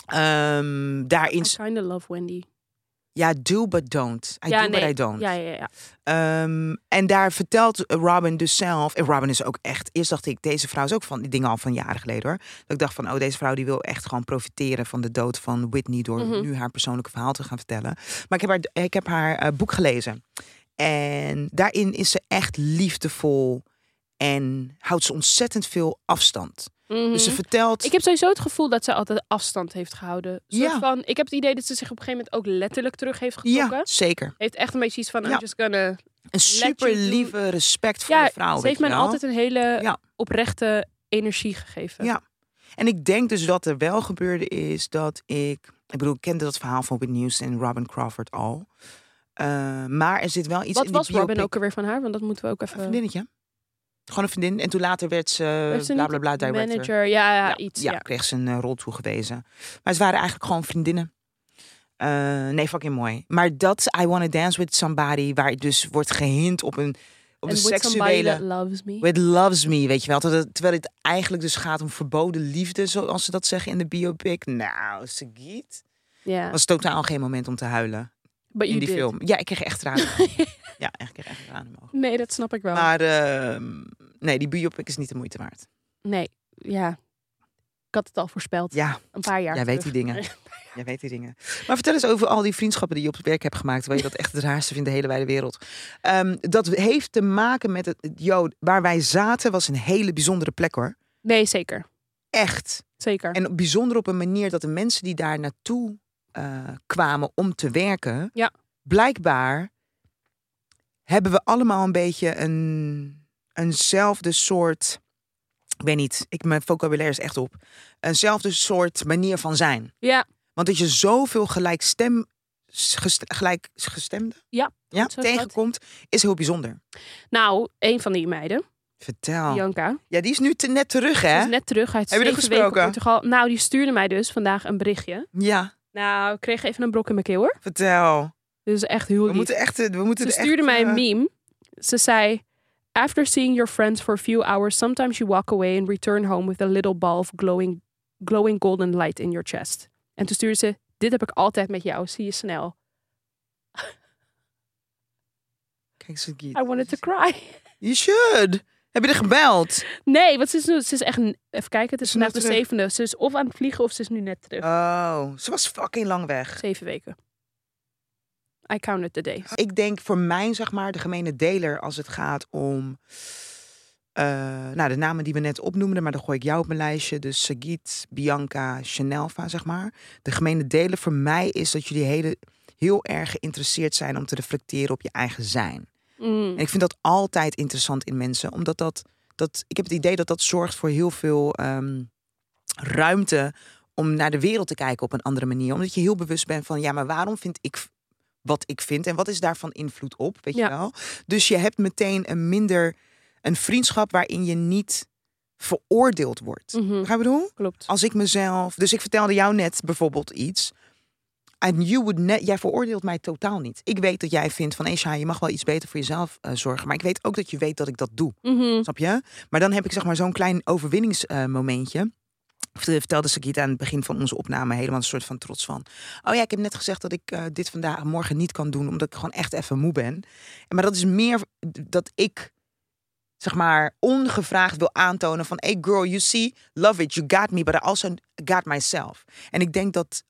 Ehm, daarin,
I kinda love Wendy.
ja, do but don't. I
ja,
do
nee.
but I don't.
Ja, ja, ja.
Ehm, en daar vertelt Robin dus zelf. En Robin is ook echt. Eerst dacht ik, deze vrouw is ook van die dingen al van jaren geleden hoor. Dat ik dacht van, oh, deze vrouw die wil echt gewoon profiteren van de dood van Whitney. door
Mhm.
nu haar persoonlijke verhaal te gaan vertellen. Maar ik heb haar, ik heb haar eh, boek gelezen. En daarin is ze echt liefdevol. En houdt ze ontzettend veel afstand.
Mhm.
Dus ze vertelt.
Ik heb sowieso het gevoel dat ze altijd afstand heeft gehouden. Een Soort
Ja.
van, ik heb het idee dat ze zich op een gegeven moment ook letterlijk terug heeft getrokken.
ja, zeker.
Heeft echt een beetje iets van, I'm
Ja.
just gonna...
Een
you
super
do-
lieve, respectvolle
Ja,
vrouw.
ze
weet
heeft
je
me
wel.
altijd een hele
Ja.
oprechte energie gegeven.
Ja. En ik denk dus dat er wel gebeurde is dat ik... Ik bedoel, ik kende dat verhaal van Whitney Houston en Robin Crawford al. Eh, maar er zit wel iets
Wat
in
was
die biopic.
Robin ook alweer van haar? Want dat moeten we ook even...
Een vriendinnetje. Gewoon een vriendin. En toen later werd ze
Heeft ze
bla bla
niet
bla
een
director.
Manager, ja, ja, iets. Ja.
Ja, kreeg ze een eh, rol toegewezen. Maar ze waren eigenlijk gewoon vriendinnen. Eh, nee, fucking mooi. Maar dat I Wanna Dance With Somebody... waar dus wordt gehint op een, op
En
een
With Somebody
seksuele...
That Loves Me.
It loves me, weet je wel. Terwijl het, terwijl het eigenlijk dus gaat om verboden liefde, zoals ze dat zeggen in de biopic. Nou, Sagiet.
Ja.
was totaal geen moment om te huilen in
But you
die
did.
film. Ja, ik kreeg echt tranen. in mijn ogen. ja, ik kreeg echt tranen in mijn ogen.
*laughs* Nee, dat snap ik wel.
Maar ehm, nee, die biopic is niet de moeite waard.
Nee, ja. Ik had het al voorspeld.
Ja,
Een paar jaar
jij weet die
terug.
dingen. Jij weet die dingen. Maar vertel eens over al die vriendschappen die je op het werk hebt gemaakt. Waar je dat echt het raarste vindt in de hele wijde wereld. Ehm, dat heeft te maken met het... Yo, waar wij zaten was een hele bijzondere plek hoor.
*laughs* Nee, zeker.
Echt.
Zeker.
En bijzonder op een manier dat de mensen die daar naartoe eh, kwamen om te werken,
Ja.
blijkbaar hebben we allemaal een beetje een, eenzelfde soort. Ik weet niet, ik, mijn vocabulaire is echt op. Eenzelfde soort manier van zijn.
Ja,
Want dat je zoveel gelijkstem, gest, gelijkgestemde
Ja,
ja,
goed zo, schat.
tegenkomt, is heel bijzonder.
nou, een van die meiden,
Vertel.
Bianca,
Ja, die is nu te, net terug,
Ze
Oh. hè?
is net terug uit
Heb je er
zeven weken op
gesproken?
Portugal. Nou, die stuurde mij dus vandaag een berichtje.
Ja,
Nou, ik kreeg even een brok in mijn keel hoor.
vertel.
Dit is echt heel
We
lief.
moeten echt... We moeten
Ze
er echt,
stuurde mij
eh,
een meme. Ze zei... After seeing your friends for a few hours, sometimes you walk away and return home with a little ball of glowing, glowing golden light in your chest. En toen stuurde ze... Dit heb ik altijd met jou. Zie je snel.
Kijk, Sagiet.
I wanted to cry.
You should. Heb je er gebeld?
Nee, want ze is, nu- ze is echt... Even kijken, het is
Is ze nu
vandaag de
terug?
zevende. Ze is of aan het vliegen of ze is nu net terug.
Oh, ze was fucking lang weg.
Zeven weken. I counted the days.
Ik denk voor mij, zeg maar, de gemene deler als het gaat om... eh, nou, de namen die we net opnoemden, maar dan gooi ik jou op mijn lijstje. Dus Sagit, Bianca, Chanelva, zeg maar. De gemene deler voor mij is dat jullie hele, heel erg geïnteresseerd zijn om te reflecteren op je eigen zijn.
Mm.
En ik vind dat altijd interessant in mensen, omdat dat, dat ik heb het idee dat dat zorgt voor heel veel ehm, ruimte om naar de wereld te kijken op een andere manier. Omdat je heel bewust bent van, ja, maar waarom vind ik wat ik vind en wat is daarvan invloed op, weet
Ja.
je wel? Dus je hebt meteen een minder een vriendschap waarin je niet veroordeeld wordt.
Mhm,
Ga je bedoel?
Klopt.
Als ik mezelf, dus ik vertelde jou net bijvoorbeeld iets. En you would net, jij veroordeelt mij totaal niet. Ik weet dat jij vindt van, hé Sjaar, je mag wel iets beter voor jezelf eh, zorgen. Maar ik weet ook dat je weet dat ik dat doe.
Mhm.
Snap je? Maar dan heb ik zeg maar zo'n klein eh, overwinningsmomentje. eh, Vertelde Sagita aan het begin van onze opname helemaal een soort van trots van. Oh ja, ik heb net gezegd dat ik eh, dit vandaag morgen niet kan doen, omdat ik gewoon echt even moe ben. En- Maar dat is meer dat ik zeg maar ongevraagd wil aantonen van, hey girl, you see, love it, you got me, but I also got myself. En ik denk dat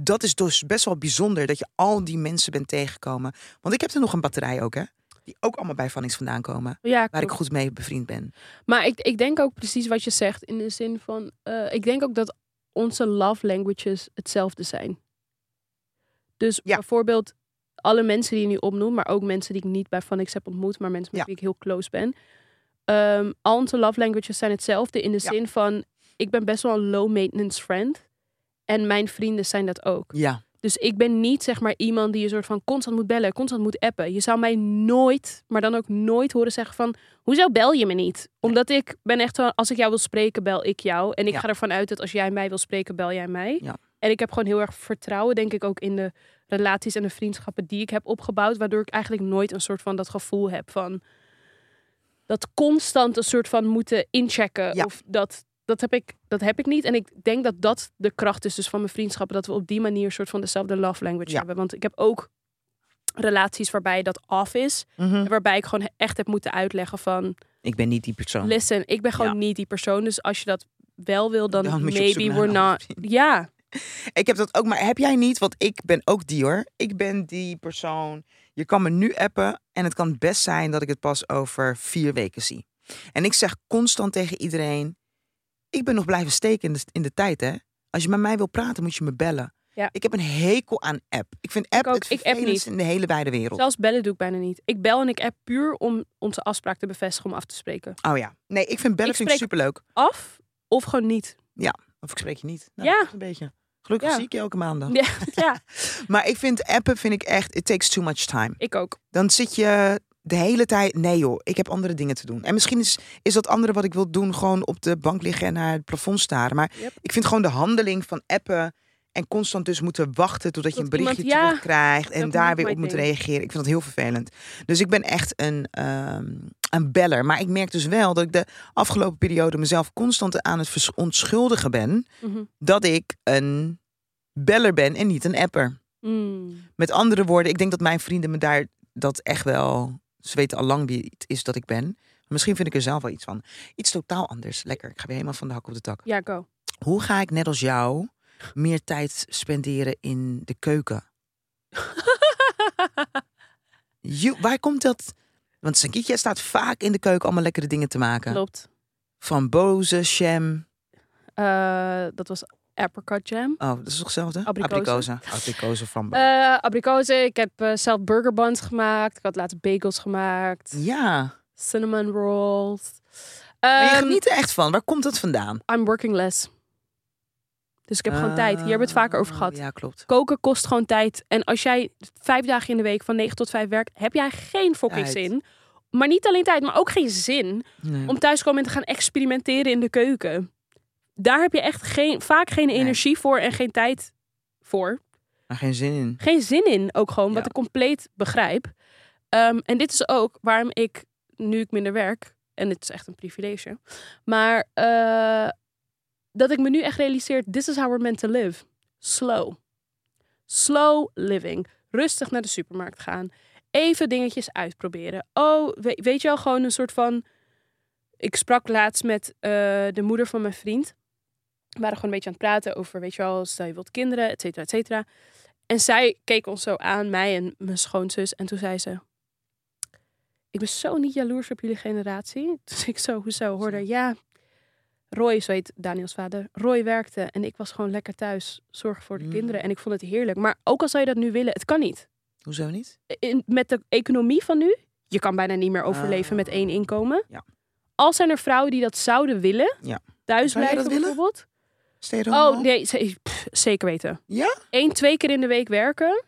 dat is dus best wel bijzonder dat je al die mensen bent tegengekomen. Want ik heb er nog een batterij ook, hè? Die ook allemaal bij Vannings vandaan komen.
Ja,
Waar ik
klopt.
goed mee bevriend ben.
Maar ik, ik denk ook precies wat je zegt. In de zin van, eh, ik denk ook dat onze love languages hetzelfde zijn. Dus
Ja.
bijvoorbeeld alle mensen die je nu opnoemt, maar ook mensen die ik niet bij Vanix heb ontmoet, maar mensen met
Ja.
wie ik heel close ben. Ehm, al onze love languages zijn hetzelfde in de
Ja.
zin van, ik ben best wel een low maintenance friend. En mijn vrienden zijn dat ook.
Ja.
Dus ik ben niet zeg maar iemand die een soort van constant moet bellen, constant moet appen. Je zou mij nooit, maar dan ook nooit horen zeggen van, hoezo bel je me niet? Omdat ik ben echt van, als ik jou wil spreken, bel ik jou. En ik
Ja.
ga ervan uit dat als jij mij wil spreken, bel jij mij.
Ja.
En ik heb gewoon heel erg vertrouwen, denk ik, ook in de relaties en de vriendschappen die ik heb opgebouwd. Waardoor ik eigenlijk nooit een soort van dat gevoel heb van, dat constant een soort van moeten inchecken.
Ja.
Of dat, dat, heb ik, dat heb ik niet. En ik denk dat dat de kracht is dus van mijn vriendschappen. Dat we op die manier een soort van dezelfde love language
Ja.
hebben. Want ik heb ook relaties waarbij dat af is.
Mhm.
en Waarbij ik gewoon echt heb moeten uitleggen van...
Ik ben niet die persoon.
Listen, ik ben gewoon
Ja.
niet die persoon. Dus als je dat wel wil, dan,
Dan moet je op zoek
maybe
naar een
we're not...
andere
Ja,
Ik heb dat ook, maar heb jij niet? Want ik ben ook die hoor. Ik ben die persoon. Je kan me nu appen en het kan best zijn dat ik het pas over vier weken zie. En ik zeg constant tegen iedereen: ik ben nog blijven steken in de, in de tijd, hè? Als je met mij wil praten, moet je me bellen.
Ja.
Ik heb een hekel aan app. Ik vind app
ook.
het
Ik app
vervelendste
niet.
in de hele wijde wereld.
zelfs bellen doe ik bijna niet. Ik bel en ik app puur om onze afspraak te bevestigen, om af te spreken.
Oh ja. Nee, ik vind bellen
Ik
vind ik
spreek-
superleuk.
Af of gewoon niet.
Of ik spreek je niet. Nou,
Ja.
dat is Een beetje. Gelukkig
Ja.
zie ik je elke maandag. *laughs*
Ja, ja
Maar ik vind appen vind ik echt, it takes too much time.
ik ook.
dan zit je de hele tijd. Nee joh, ik heb andere dingen te doen. En misschien is, is dat andere wat ik wil doen gewoon op de bank liggen en naar het plafond staren. Maar
Yep.
ik vind gewoon de handeling van appen en constant dus moeten wachten totdat je
Tot
een berichtje
iemand- ja,
terugkrijgt en
dat
daar
niet
weer op
mijn
moet
ding.
reageren. Ik vind dat heel vervelend. Dus ik ben echt een, ehm, een beller. Maar ik merk dus wel dat ik de afgelopen periode mezelf constant aan het vers- onschuldigen ben
Mhm.
dat ik een beller ben en niet een apper.
Mm.
Met andere woorden, ik denk dat mijn vrienden me daar dat echt wel. Ze weten al lang wie het is dat ik ben. Misschien vind ik er zelf wel iets van. Iets totaal anders. Lekker. Ik ga weer helemaal van de hak op de tak.
Ja,
*laughs*
go.
Hoe ga ik net als jou meer tijd spenderen in de keuken? You- waar komt dat? Want Sankitje staat vaak in de keuken allemaal lekkere dingen te maken.
Klopt.
Van boze, sham.
Eh, dat was apricot jam.
Oh, dat is toch hetzelfde?
Abrikozen. *laughs*
Abrikozen. Abrikozen van boven.
Eh abrikozen. Ik heb eh, zelf burger buns gemaakt. Ik had laatst bagels gemaakt.
ja.
Cinnamon rolls.
Maar je
Ehm,
geniet er echt van. Waar komt dat vandaan?
I'm working less. Dus ik heb gewoon tijd. Hier hebben we het vaker over
Ah,
gehad.
Ja, klopt.
Koken kost gewoon tijd. En als jij vijf dagen in de week van 9 tot 5 werkt, heb jij geen fucking
Tijd.
zin. Maar niet alleen tijd, maar ook geen zin.
Nee.
om thuis te komen en te gaan experimenteren in de keuken. Daar heb je echt geen, vaak geen
Nee.
energie voor en geen tijd voor.
Maar geen zin in.
Geen zin in ook gewoon, wat
Ja.
ik compleet begrijp. Ehm, en dit is ook waarom ik, nu ik minder werk, en het is echt een privilege, maar eh, dat ik me nu echt realiseer, this is how we're meant to live. Slow. Slow living. Rustig naar de supermarkt gaan. Even dingetjes uitproberen. Oh, we- weet je wel, gewoon een soort van... Ik sprak laatst met eh, de moeder van mijn vriend. We waren gewoon een beetje aan het praten over, weet je wel, stel je wilt kinderen, et cetera, et cetera. En zij keek ons zo aan, mij en mijn schoonzus. En toen zei ze... Ik ben zo niet jaloers op jullie generatie. *laughs* Dus ik zo, hoezo, hoorde ja... Roy, zo heet Daniels vader. Roy werkte en ik was gewoon lekker thuis zorgen voor de
Mm.
kinderen. En ik vond het heerlijk. Maar ook al zou je dat nu willen, het kan niet.
Hoezo niet?
In, met de economie van nu, je kan bijna niet meer overleven met één inkomen.
Ah. Ja.
Al zijn er vrouwen die dat zouden willen,
Ja.
thuis
Zou jij
blijven
dat willen?
bijvoorbeeld.
Stay
Oh nee, ze- pff, zeker weten.
Ja?
Eén, twee keer in de week werken.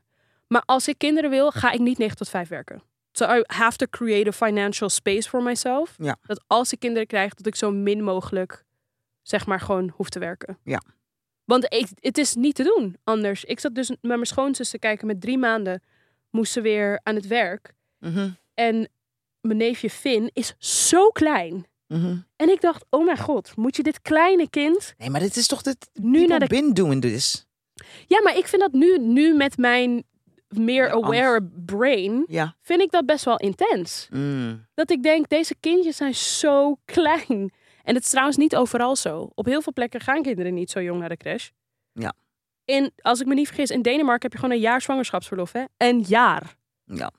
Maar als ik kinderen wil, ga ik niet 9 tot 5 werken. So I have to create a financial space for myself.
Ja.
Dat als ik kinderen krijg, dat ik zo min mogelijk, zeg maar, gewoon hoef te werken.
Ja.
Want ik, het is niet te doen anders. Ik zat dus met mijn schoonzus te kijken. Met drie maanden moest ze weer aan het werk.
Mhm.
En mijn neefje Finn is zo klein. En ik dacht, oh mijn god, moet je dit kleine kind
Mhm. Nee, maar dit is toch dit...
nu naar de
bin doing this.
Ja, maar ik vind dat nu, nu met mijn meer
Ja,
aware brain,
Ja.
vind ik dat best wel intens. Dat ik denk, deze kindjes zijn zo *laughs* klein. En het is trouwens niet overal zo. Op heel veel plekken gaan kinderen niet zo jong naar de crash.
Ja.
in, als ik me niet vergis, in Denemarken heb je gewoon een jaar zwangerschapsverlof, hè? Een jaar.
Ja.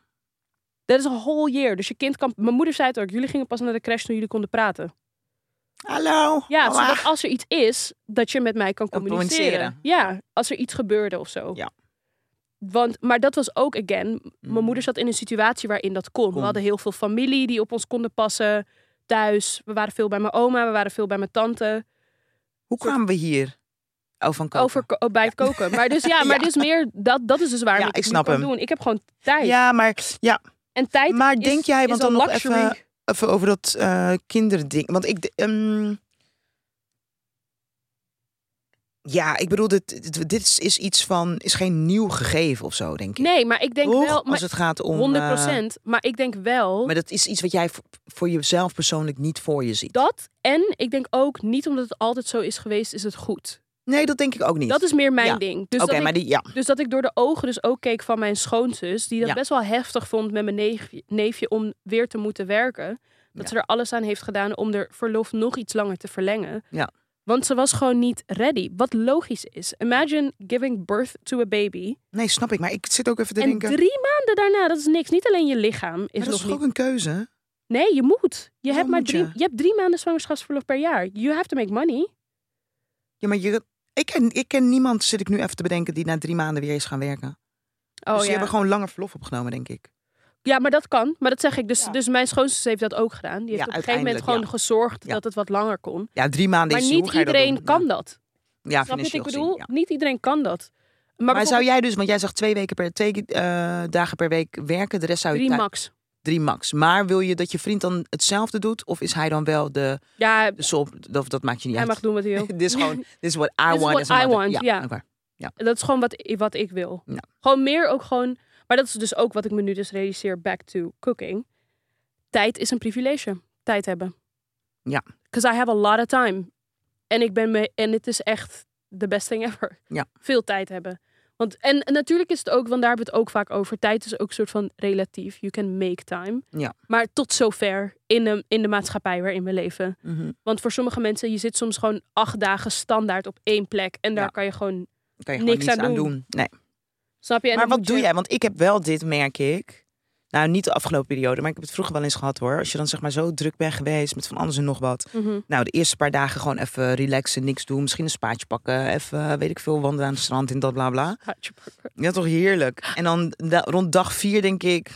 Dat is een whole year. Dus je kind kan... Mijn moeder zei het ook. Jullie gingen pas naar de crash toen jullie konden praten.
Hallo. Ah.
Ja,
Hallo.
zodat als er iets is, dat je met mij kan
Kan
communiceren.
communiceren.
Ja, als er iets gebeurde of zo.
Ja. Mm.
Want, maar dat was ook, again, mijn moeder zat in een situatie waarin dat kon.
Kon.
We hadden heel veel familie die op ons konden passen. Thuis, we waren veel bij mijn oma, we waren veel bij mijn tante.
Hoe kwamen we hier? Oh, van koken.
Over, ko- bij het koken. Maar dus ja, maar
*laughs* Ja.
dus meer, dat, dat is dus waar
Ja,
ik,
ik
het nu
snap
kan
hem.
doen. Ik heb gewoon tijd.
Ja, maar ja,
En tijd
Maar
is-
denk jij,
is
want
een
dan nog
luxury.
even- even over dat eh, kinderding. Want ik. d- ehm, ja, ik bedoel, dit, dit, dit is- is iets van. is geen nieuw gegeven of zo, denk ik.
Nee, maar ik denk
Toch?
wel... Maar,
Als het gaat om.
100
eh,
Maar ik denk wel...
maar dat is iets wat jij v- voor jezelf persoonlijk niet voor je ziet.
Dat en ik denk ook niet omdat het altijd zo is geweest, is het goed.
nee, dat denk ik ook niet.
Dat is meer mijn
Ja.
ding. Dus,
Oké,
dat
maar
ik,
die. Ja,
dus dat ik door de ogen dus ook keek van mijn schoonzus, die dat
Ja.
best wel heftig vond met mijn neefje, neefje om weer te moeten werken. Dat
Ja.
ze er alles aan heeft gedaan om de verlof nog iets langer te verlengen.
Ja.
Want ze was gewoon niet ready. Wat logisch is. Imagine giving birth to a baby.
nee, snap ik. Maar ik zit ook even te
En
denken.
drie maanden daarna, dat is niks. Niet alleen je lichaam is
maar dat
nog
is toch
niet
ook een keuze?
Nee, je moet. Je
Hoezo
hebt maar
moet
drie,
je?
je? hebt drie maanden zwangerschapsverlof per jaar. You have to make money.
Ja, maar je. Ik ken, ik ken niemand, zit ik nu even te bedenken, die na drie maanden weer is gaan werken.
Oh,
dus die
ja.
hebben gewoon langer verlof opgenomen, denk ik.
ja, maar dat kan. Maar dat zeg ik. Dus,
Ja.
dus mijn schoonzus heeft dat ook gedaan. Die heeft
Ja,
op een gegeven moment gewoon
uiteindelijk,
gezorgd
Ja.
dat het wat langer kon.
Ja, drie maanden
Maar
is
niet
hoe ga je dat
iedereen
doen?
kan
Ja.
dat.
Ja,
Snap je wat ik
financieel
bedoel?
gezien, ja.
Niet iedereen kan dat. Maar,
Maar, zou jij dus, want jij zegt twee, weken per, twee eh, dagen per week werken, de rest zou je
drie
thuis-
max.
drie max. Maar wil je dat je vriend dan hetzelfde doet? Of is hij dan wel de,
Ja,
de sop? Dat, dat maakt je niet
hij mag
uit.
doen wat hij wil.
*laughs* dit is
*laughs*
gewoon, dit is what I
Dit is
want.
what
as a
I
mother.
want, ja.
oké.
Dat is gewoon wat, i- wat ik wil.
Ja.
Gewoon meer ook gewoon... Maar dat is dus ook wat ik me nu dus realiseer. Back to cooking. Tijd is een privilege. Tijd hebben.
Ja.
Because I have a lot of time. En ik ben me... En het is echt the best thing ever.
Ja.
Veel tijd hebben. Want, en, en natuurlijk is het ook, want daar hebben we het ook vaak over. Tijd is ook een soort van relatief. You can make time.
Ja.
Maar tot zover in de, in de maatschappij waarin we leven.
Mhm.
Want voor sommige mensen, je zit soms gewoon acht dagen standaard op één plek. En daar
Ja.
kan je gewoon,
Dan kan je gewoon
Niks
niets
aan
aan
doen.
doen. Nee.
snap je? En
maar wat
dan moet
doe
je-
jij? Want ik heb wel dit, merk ik. Nou, niet de afgelopen periode, maar ik heb het vroeger wel eens gehad hoor. Als je dan zeg maar zo druk bent geweest met van alles en nog wat.
Mhm.
Nou, de eerste paar dagen gewoon even relaxen, niks doen. Misschien een spaatje pakken, even, eh, weet ik veel, wandelen aan het strand en dat bla bla.
Haartje pakken.
Ja, toch heerlijk. En dan da- rond dag vier denk ik...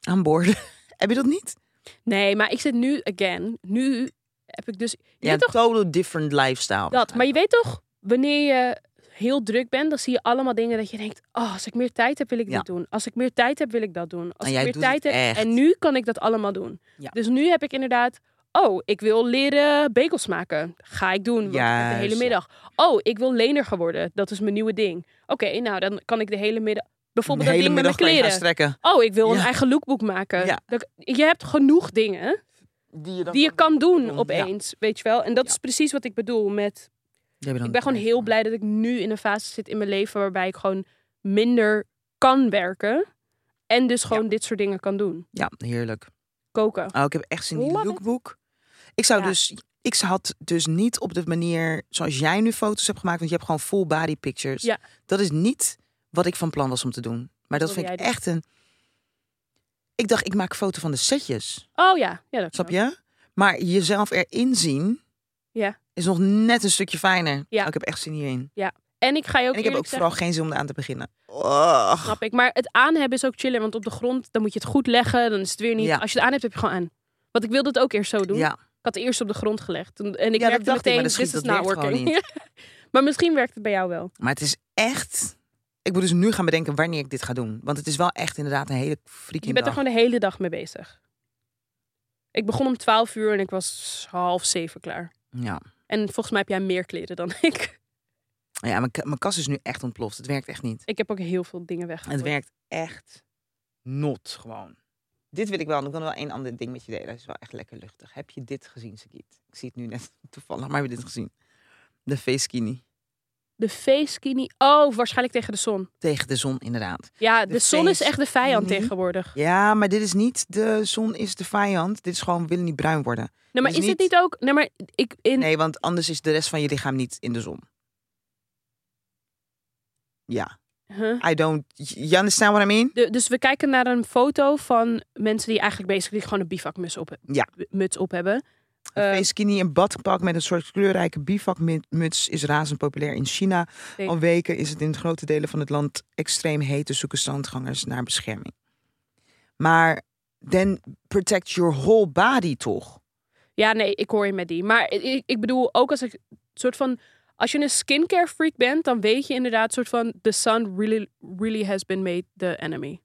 Aan boord. *laughs* Heb je dat niet?
Nee, maar ik zit nu, again, nu heb ik dus... Je
Ja,
weet
een
toch
total different lifestyle.
dat, maar je weet toch, wanneer je heel druk bent, dan zie je allemaal dingen dat je denkt... Oh, als ik meer tijd heb, wil ik
Ja.
dit doen. Als ik meer tijd heb, wil ik dat doen. Als
En
ik
jij
meer
doet
tijd
het
heb...
echt.
En nu kan ik dat allemaal doen.
Ja.
Dus nu heb ik inderdaad... Oh, ik wil leren bagels maken. Ga ik doen. want ik heb de
Juist,
hele
ja.
middag. Oh, ik wil lener geworden. Dat is mijn nieuwe ding. Oké, nou dan kan ik de hele middag.
Een
Bijvoorbeeld dat
hele
ding
middag
met mijn
kan je gaan
kleren.
strekken.
Oh, ik wil een
Ja.
eigen lookbook maken.
Ja.
Dat- je hebt genoeg dingen
Die je,
die je kan doen
doen,
opeens, weet je wel. En dat is precies wat ik bedoel met... Ik ben gewoon heel blij dat ik nu in een fase zit in mijn leven... waarbij ik gewoon minder kan werken. En dus gewoon dit soort dingen kan doen.
Ja, heerlijk.
Koken.
Oh, ik heb echt zin in die
Love it.
lookbook. Ik zou
Ja.
dus... Ik had dus niet op de manier zoals jij nu foto's hebt gemaakt. Want je hebt gewoon full body pictures.
Ja.
Dat is niet wat ik van plan was om te doen. Maar dat
wilde
vind ik
jij doen?
echt een... Ik dacht, ik maak een foto van de setjes.
Oh ja, ja dat
Snap
kan.
je? Maar jezelf erin zien
Ja.
is nog net een stukje fijner.
Ja.
Oh, ik heb echt zin hierin.
En ik ga je ook
en ik heb ook
eerlijk zeggen...
vooral geen zin om eraan te beginnen. Och.
Snap ik. Maar het aanhebben is ook chillen. Want op de grond, dan moet je het goed leggen. Dan is het weer niet...
Ja.
Als je het aan hebt, heb je gewoon aan. Want ik wilde het ook eerst zo doen.
Ja,
Ik had het eerst op de grond gelegd. Toen- En
Ja,
ik
dat
merkte
dacht ik,
meteen,
maar dat
dit
schiet-
is
dat
not
werkt gewoon
working. *laughs* maar misschien werkt het bij jou wel. Dus
maar het is echt... Ik moet dus nu gaan bedenken wanneer ik dit ga doen. Want het is wel echt inderdaad een hele
Je
freaking
bent er
dag.
gewoon de hele dag mee bezig. Ik begon om 12 uur en ik was half zeven klaar.
Ja.
En volgens mij heb jij meer kleren dan *laughs* ik.
ja, mijn, ka- mijn kast is nu echt ontploft. Het werkt echt niet.
Ik heb ook heel veel dingen weggegooid.
Het werkt echt not gewoon. Dit wil ik wel. want Ik kan wel één ander ding met je delen. Het is wel echt lekker luchtig. Heb je dit gezien, Sakit? Ik zie het nu net *laughs* toevallig, maar heb je dit gezien? De face skinny.
De face-skinny. Oh, waarschijnlijk tegen de zon.
Tegen de zon, inderdaad.
Ja, de,
De Mhm.
zon is echt de vijand
face-skinny.
tegenwoordig.
Ja, maar dit is niet de zon is de vijand. Dit is gewoon we willen niet bruin worden.
Nee, maar
Dus
is het
niet-
niet ook... Nee, maar ik... In...
Nee, want anders is de rest van je lichaam niet in de zon. Ja.
Huh?
I don't... You understand what I mean?
De- dus we kijken naar een foto van mensen die eigenlijk basically gewoon een bivakmuts op,
Ja.
muts op hebben.
Een
Eh,
face skinny en badpak met een soort kleurrijke bivakmuts is razend populair in China.
Zeker.
Al weken is het in grote delen van het land extreem heet, dus zoeken strandgangers naar bescherming. Maar then protect your whole body toch?
Ja, nee, ik hoor je met die. Maar ik, ik bedoel, ook als ik soort van. Als je een skincare freak bent, dan weet je inderdaad soort van. The sun really, really has been made the enemy.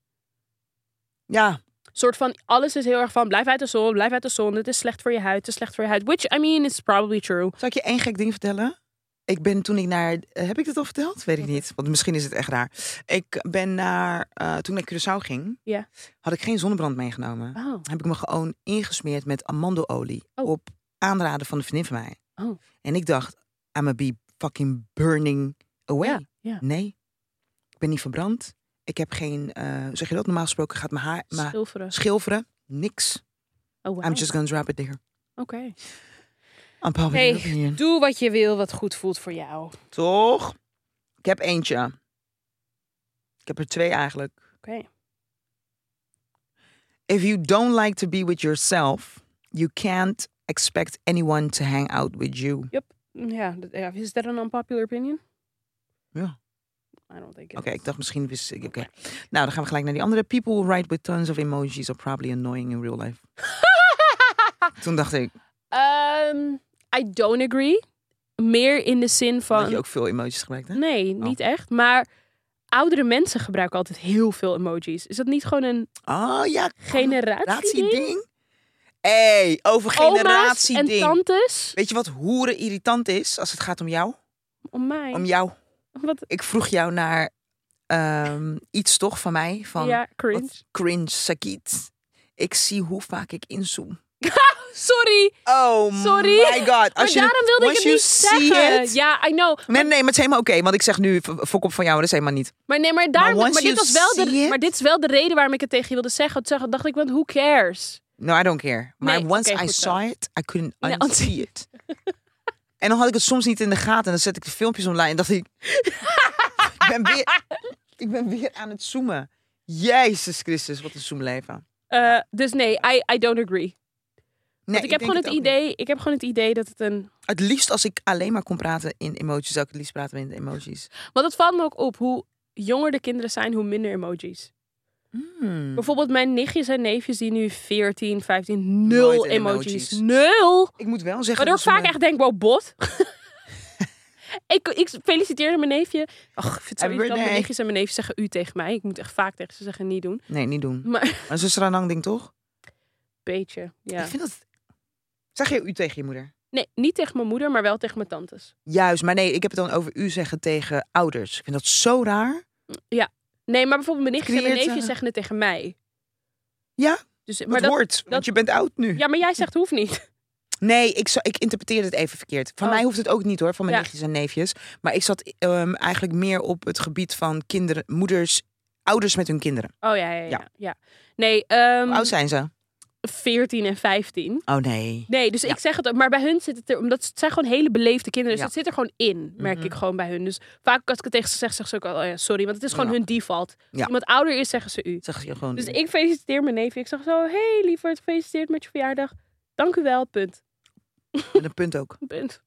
Ja,
Soort van alles is heel erg van. Blijf uit de zon, blijf uit de zon. Het is slecht voor je huid, het is slecht voor je huid. Which, I mean, it's probably true.
zal ik je één gek ding vertellen? Ik ben toen ik naar... eh, Heb ik dit al verteld? Weet ik niet, want misschien is het echt raar. Ik ben naar... eh, toen ik naar Curaçao ging,
Ja.
had ik geen zonnebrand meegenomen.
Oh,
heb ik me gewoon ingesmeerd met amandelolie.
Oh.
Op aanraden van een vriendin van mij.
Oh.
En ik dacht, I'ma be fucking burning away.
ja. ja.
Nee, ik ben niet verbrand. Ik heb geen, eh, zeg je dat, normaal gesproken gaat mijn haar, mijn
Zilveren.
schilferen, niks.
Oh, wow.
I'm just gonna drop it there.
Oké.
I'm probably
Hey,
not here.
doe wat je wil, wat goed voelt voor jou. Oké.
Toch? Ik heb eentje. Ik heb er twee eigenlijk. If you don't like to be with yourself, you can't expect anyone to hang out with you.
Ja, dat- ja, is that an unpopular opinion?
Ja.
I don't think it
Oké,
is.
ik dacht misschien wist ik. Oké. Nou, dan gaan we gelijk naar die andere. People who write with tons of emojis are probably annoying in real life. Toen dacht ik,
Ehm, I don't agree. Meer in de zin
dat
van.
je ook veel emojis gebruikt, hè? Oh.
Nee, niet echt. Maar oudere mensen gebruiken altijd heel veel emojis. Is dat niet gewoon een
Oh ja,
generatie?
generatieding. Hé, hey, over
Oma's en
generatieding.
tantes?
Weet je wat hoeren irritant is als het gaat om jou?
Om mij.
Om jou.
Oh Wat?
Ik vroeg jou naar ehm, iets toch van mij? Van
ja, cringe.
wat cringe Sakit. Ik zie hoe vaak ik inzoom.
Sorry.
Oh
Sorry.
my god.
Maar
Als je het-
daarom wilde ik
once
het
you
niet
see
zeggen.
it-
Ja, I know.
Nee, nee, maar het is helemaal oké. want ik zeg nu, v- fok op van jou, dat is helemaal niet.
Maar nee, maar, daarom,
once
maar, dit
you
was wel
see
de,
it-
maar dit is wel de reden waarom ik het tegen je wilde zeggen. Toen dacht ik, want who cares?
No, I don't care. Maar
Nee,
once
oké,
I
goed zo.
saw it, I couldn't
Nee,
unsee it. en dan had ik het soms niet in de gaten. En dan zet ik de filmpjes online en dacht ik... *laughs* ik, ben weer, ik ben weer aan het zoomen. Jezus Christus, wat een zoomleven.
Eh, dus nee, I, I don't agree.
Nee,
Want ik, heb
denk
gewoon het
ook niet.
idee, ik heb gewoon het idee dat het een
Het liefst als ik alleen maar kon praten in emoties, zou ik het liefst praten in de emoties.
Want dat valt me ook op. Hoe jonger de kinderen zijn, hoe minder emojis.
Hmm.
Bijvoorbeeld mijn nichtjes en neefjes die nu 14, 15,
Nooit
nul
een
emojis.
emojis.
Nul!
Ik moet wel zeggen...
Waardoor
dat
ik
ze
vaak
me-
echt denk, wow,
*laughs*
bot. ik, ik feliciteerde mijn neefje. Ach, ik vind het zo
Happy
irritant. Mijn
birthday.
nichtjes en mijn neefjes zeggen u tegen mij. Ik moet echt vaak tegen ze zeggen niet doen.
Nee, niet doen.
Maar *laughs*
Maar zo'n Ranang ding toch?
beetje, ja.
Ik vind dat... Zeg je u tegen je moeder?
Nee, niet tegen mijn moeder, maar wel tegen mijn tantes.
Juist, maar nee, ik heb het dan over u zeggen tegen ouders. Ik vind dat zo raar.
Nee, maar bijvoorbeeld mijn nichtjes en mijn
Creëert,
neefjes
eh,
zeggen het tegen mij.
Ja,
Dus, maar
Maar dat,
dat,
hoort, want
dat-
je bent oud nu.
ja, maar jij zegt hoeft niet.
Nee, ik, zou- ik interpreteer het even verkeerd. Van
Oh.
mij hoeft het ook niet hoor, van mijn
Ja.
nichtjes en neefjes. Maar ik zat ehm, eigenlijk meer op het gebied van kinderen, moeders, ouders met hun kinderen.
Oh ja, ja, ja. ja.
Ja.
Nee, ehm,
Hoe oud zijn ze?
14 en 15.
Oh nee.
Nee, dus ik zeg het ook. Maar bij hun zit het er, omdat het zijn gewoon hele beleefde kinderen. Dus
Ja.
het zit er gewoon in, merk
Mhm.
ik gewoon bij hun. Dus vaak als ik het tegen ze zeg, zeggen ze ook al, oh ja, sorry. Want het is gewoon
Ja.
hun default. Als
Ja.
iemand ouder is, zeggen ze u.
Zeg je gewoon.
Dus ik feliciteer mijn neef. Ik zeg zo, hey lieverd, gefeliciteerd met je verjaardag. Dank u wel, punt.
Met een punt ook.
Punt.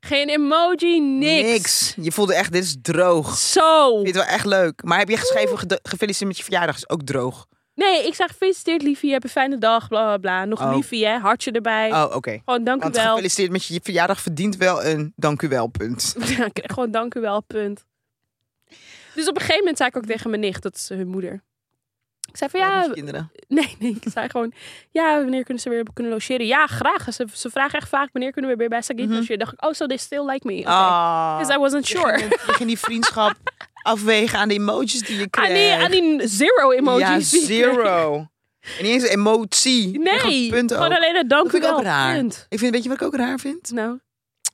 Geen emoji, *laughs* niks.
Je voelde echt, dit is droog.
Zo.
Dit is wel echt leuk. Maar heb je geschreven, ged- gefeliciteerd met je verjaardag, is ook droog.
Nee, ik zeg gefeliciteerd liefie, heb een fijne dag, bla bla bla. Nog
Oh.
liefie, hè, hartje erbij.
Oh, oké.
Gewoon dank
Want
u wel.
gefeliciteerd met je verjaardag verdient wel een dank u wel punt.
*laughs* Ja, ik kreeg gewoon dank u wel, punt. Dus op een gegeven moment zei ik ook tegen mijn nicht, dat is hun moeder. Ik zei van ja,
Kinderen.
*laughs* nee, nee. Ik zei gewoon, ja, wanneer kunnen ze weer kunnen logeren? Ja, graag. Ze, ze vragen echt vaak, wanneer kunnen we weer bij Sagit
Mhm.
logeren? dacht ik, oh, so they still like me. Okay.
Ah.
Because Dus I wasn't
Je
sure.
ging, je ging die
*laughs*
vriendschap afwegen aan de emojis die je
Aan
krijgt.
die, aan die zero emojis. *laughs*
ja,
die ik kreeg.
zero. En niet eens een emotie.
Nee,
Gewoon punt
gewoon
ook.
alleen een dank
Dat
u
vind ik
wel,
ook raar.
punt.
Ik vind, weet je wat ik ook raar vind?
Nou,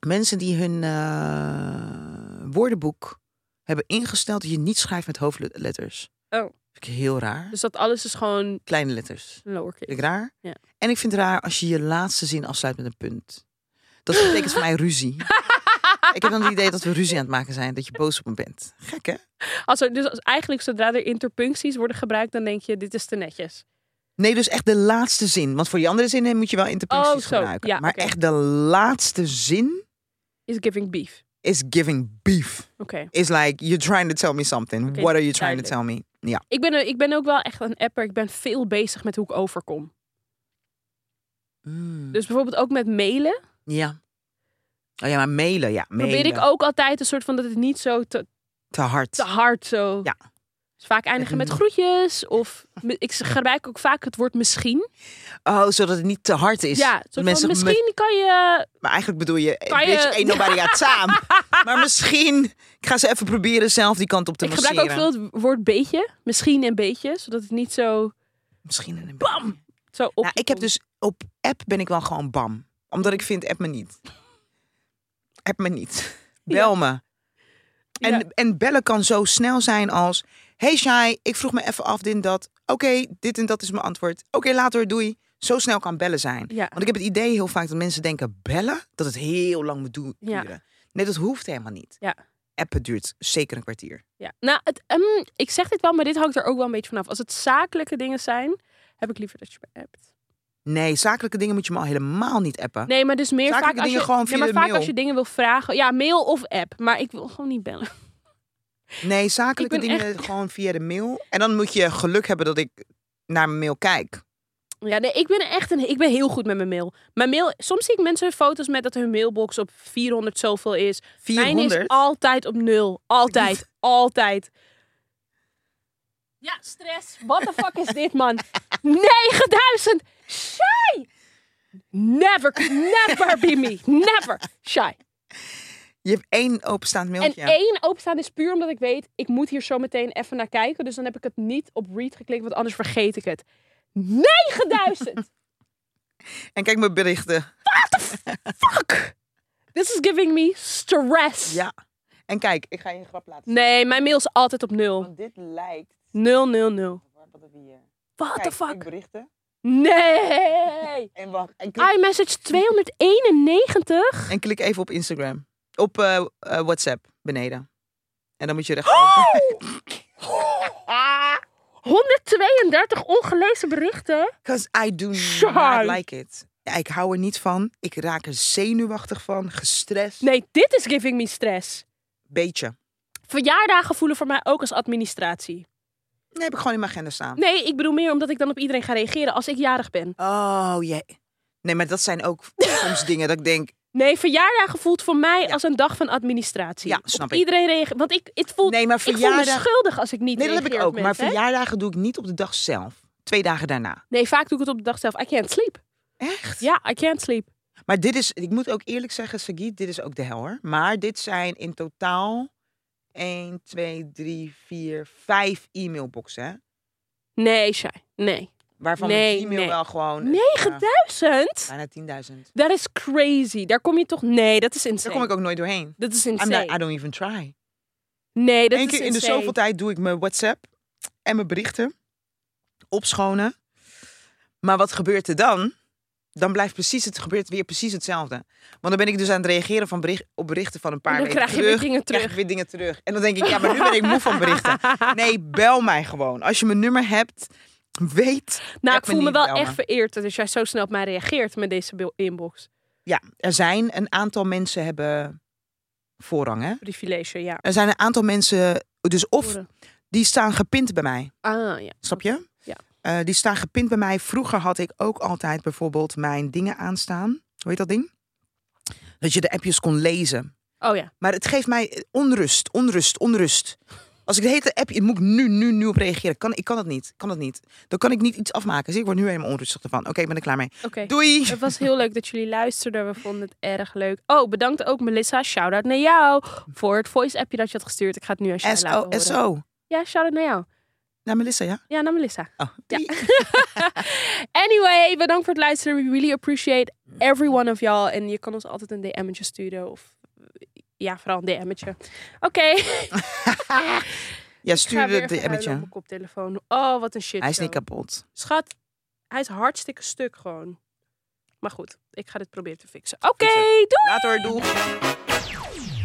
Mensen die hun eh, woordenboek hebben ingesteld dat je niet schrijft met hoofdletters.
Oh.
Vind ik heel raar.
dus dat alles is gewoon
Kleine letters. Vind
lowercase.
ik raar.
Ja.
En ik vind het raar als je je laatste zin afsluit met een punt. Dat betekent voor mij ruzie. Ik heb dan het idee dat we ruzie aan het maken zijn. Dat je boos op me bent. Gek, hè?
Als er, dus als, eigenlijk zodra er interpuncties worden gebruikt, dan denk je, dit is te netjes.
Nee, dus echt de laatste zin. Want voor die andere zinnen moet je wel interpuncties
Oh, zo.
gebruiken.
Ja,
maar
oké.
echt de laatste zin
Is giving beef.
is giving beef.
Oké.
Is like, you're trying to tell me something.
Oké,
What are you trying to tell
duidelijk.
me? Ja.
Ik, ben, ik ben ook wel echt een apper. Ik ben veel bezig met hoe ik overkom. Dus bijvoorbeeld ook met mailen.
ja. Oh ja, maar mailen, ja. Mailen.
Probeer ik ook altijd een soort van dat het niet zo te,
Te hard.
te hard zo.
Ja.
Dus vaak eindigen met
Mm.
groetjes. Of me- ik gebruik ook vaak het woord misschien.
Oh, zodat het niet te hard is.
ja, soort van,
mensen-
misschien kan je.
Maar eigenlijk bedoel je,
Kan je-
bitch, ain't nobody
*laughs*
got time. maar misschien, ik ga ze even proberen zelf die kant op te
ik
masseren.
gebruik ook veel het woord beetje. Misschien en beetje. Zodat het niet zo.
Misschien in een
Bam! Zo op.
Nou,
je
ik heb
komt.
dus op app ben ik wel gewoon bam. Omdat ik vind app me niet. *laughs* App me niet. Bel me. En,
Ja.
en bellen kan zo snel zijn als... Hey Shai, ik vroeg me even af dit en dat. Oké, dit en dat is mijn antwoord. Oké, later, doei. Zo snel kan bellen zijn.
Ja.
Want ik heb het idee heel vaak dat mensen denken bellen... dat het heel lang moet du-
Ja.
duren. Nee, dat hoeft helemaal niet.
Ja.
Appen duurt zeker een kwartier.
Ja. Nou, het, ehm, ik zeg dit wel, maar dit hangt er ook wel een beetje vanaf. Als het zakelijke dingen zijn, heb ik liever dat je me appt.
Nee, zakelijke dingen moet je me al helemaal niet appen.
Nee, maar dus meer
Zakelijke
vaak als
dingen
je,
gewoon
nee,
via
maar
de
vaak
mail.
als je dingen wil vragen. Ja, mail of app. Maar ik wil gewoon niet bellen. *laughs*
Nee, zakelijke
Ik ben
dingen gewoon via de mail. En dan moet je geluk hebben dat ik naar mijn mail kijk.
Ja, nee, ik ben echt een, ik ben heel goed met mijn mail. Mijn mail, soms zie ik mensen hun foto's met dat hun mailbox op 400 zoveel is. Mijn
400.
is altijd op nul.
*laughs*
Altijd, altijd. Ja, stress. What the fuck is dit,
*laughs*
man? 9000! Shy! Never, could never be me. Never. Shy.
Je hebt één openstaand
En
mailtje.
één openstaan is puur omdat ik weet, ik moet hier zo meteen even naar kijken. Dus dan heb ik het niet op read geklikt, want anders vergeet ik het.
*laughs*
9000!
En kijk mijn berichten.
Fuck! This is giving me stress.
Ja. En kijk, ik ga je een grap laten zien.
Nee, mijn mail is altijd op nul.
Want dit lijkt...
Nul, nul, nul.
Wat heb je hier?
What the
Kijk, ik
fuck?
berichten.
Nee!
En wacht. En klik,
iMessage 291?
en klik even op Instagram. Op eh, eh, WhatsApp beneden. En dan moet
*gasps*
je recht.
Oh! 132 ongelezen berichten?
Because I do
Sjaai.
not like it. Ja, ik hou er niet van. Ik raak er zenuwachtig van. Gestrest.
Nee, dit is giving me stress.
Beetje.
Verjaardagen voelen voor mij ook als administratie.
Nee, heb ik gewoon in mijn agenda staan.
Nee, ik bedoel meer omdat ik dan op iedereen ga reageren als ik jarig ben.
Oh, jee. Nee, maar dat zijn
*laughs*
ook soms dingen dat ik denk...
Nee, verjaardagen voelt voor mij
Ja.
als een dag van administratie.
Ja, snap
op
ik.
Iedereen reageert. Want ik, het voelt,
Nee, maar
ik voel me
verjaardag...
schuldig als ik niet
Nee, dat heb
reageer
ik
op
ook. Maar
mensen, hè?
verjaardagen doe ik niet op de dag zelf. Twee dagen daarna.
Nee, vaak doe ik het op de dag zelf. I can't sleep.
Echt?
Ja, I can't sleep.
Maar dit is... Ik moet ook eerlijk zeggen, Sagit, dit is ook de hel, hoor. Maar dit zijn in totaal... 1, 2, 3, 4, 5 e-mailboxen, hè?
Nee, Shai. Nee.
Waarvan
Nee,
mijn e-mail
nee.
wel gewoon... eh,
9000?
bijna 10.000.
Dat is crazy. Daar kom je toch... Nee, dat is
Daar
insane.
kom ik ook nooit doorheen.
Dat is
I'm
insane.
not, I don't even try.
nee, dat
Eén
is
keer in de
insane.
zoveel tijd doe ik mijn WhatsApp en mijn berichten opschonen. Maar wat gebeurt er dan? Dan blijft precies het gebeurt weer precies hetzelfde. Want dan ben ik dus aan het reageren van bericht, op berichten van een paar
En dan
weken
krijg je
terug.
weer dingen
krijg
terug.
ik weer dingen terug. En dan denk ik, ja, maar nu ben ik moe van
*laughs*
berichten. Nee, bel mij gewoon. Als je mijn nummer hebt, weet.
Nou,
app
ik voel me
niet,
wel
bel
echt vereerd dat jij zo snel op mij reageert met deze bil- inbox.
Ja, er zijn een aantal mensen hebben voorrang, hè?
Privilege, ja.
Er zijn een aantal mensen, dus of
Horen.
die staan gepind bij mij.
Ah, ja.
Snap je?
Ja.
Eh, die staan gepind bij mij. Vroeger had ik ook altijd bijvoorbeeld mijn dingen aanstaan. Hoe heet dat ding? Dat je de appjes kon lezen.
Oh ja.
Maar het geeft mij eh, onrust, onrust, onrust. Als ik de hele app, moet ik nu, nu, nu op reageren. Kan, ik kan dat niet, kan dat niet. Dan kan ik niet iets afmaken. Dus ik word nu helemaal onrustig ervan. Oké, ik ben er klaar mee.
Oké.
Doei!
Het was heel leuk dat jullie luisterden. We vonden het erg leuk. Oh, bedankt ook Melissa. Shout-out naar jou voor het voice-appje dat je had gestuurd. Ik ga het nu aan jou laten
SO,
horen.
SO.
Ja, shout-out naar jou.
Naar Melissa, ja?
Ja, naar Melissa.
Oh, doei.
Anyway, bedankt voor het luisteren. We really appreciate every one of y'all. En je kan ons altijd een DM'tje sturen. Of ja, vooral een DM'tje. Oké.
*laughs* Ja,
Ik ga
stuur
weer
de- de
even huilen op
appje.
mijn koptelefoon. Oh, wat een shit.
Hij is niet kapot.
Schat, hij is hartstikke stuk gewoon. Maar goed, ik ga dit proberen te fixen. Oké,
Fixen.
doei!
Later, doeg!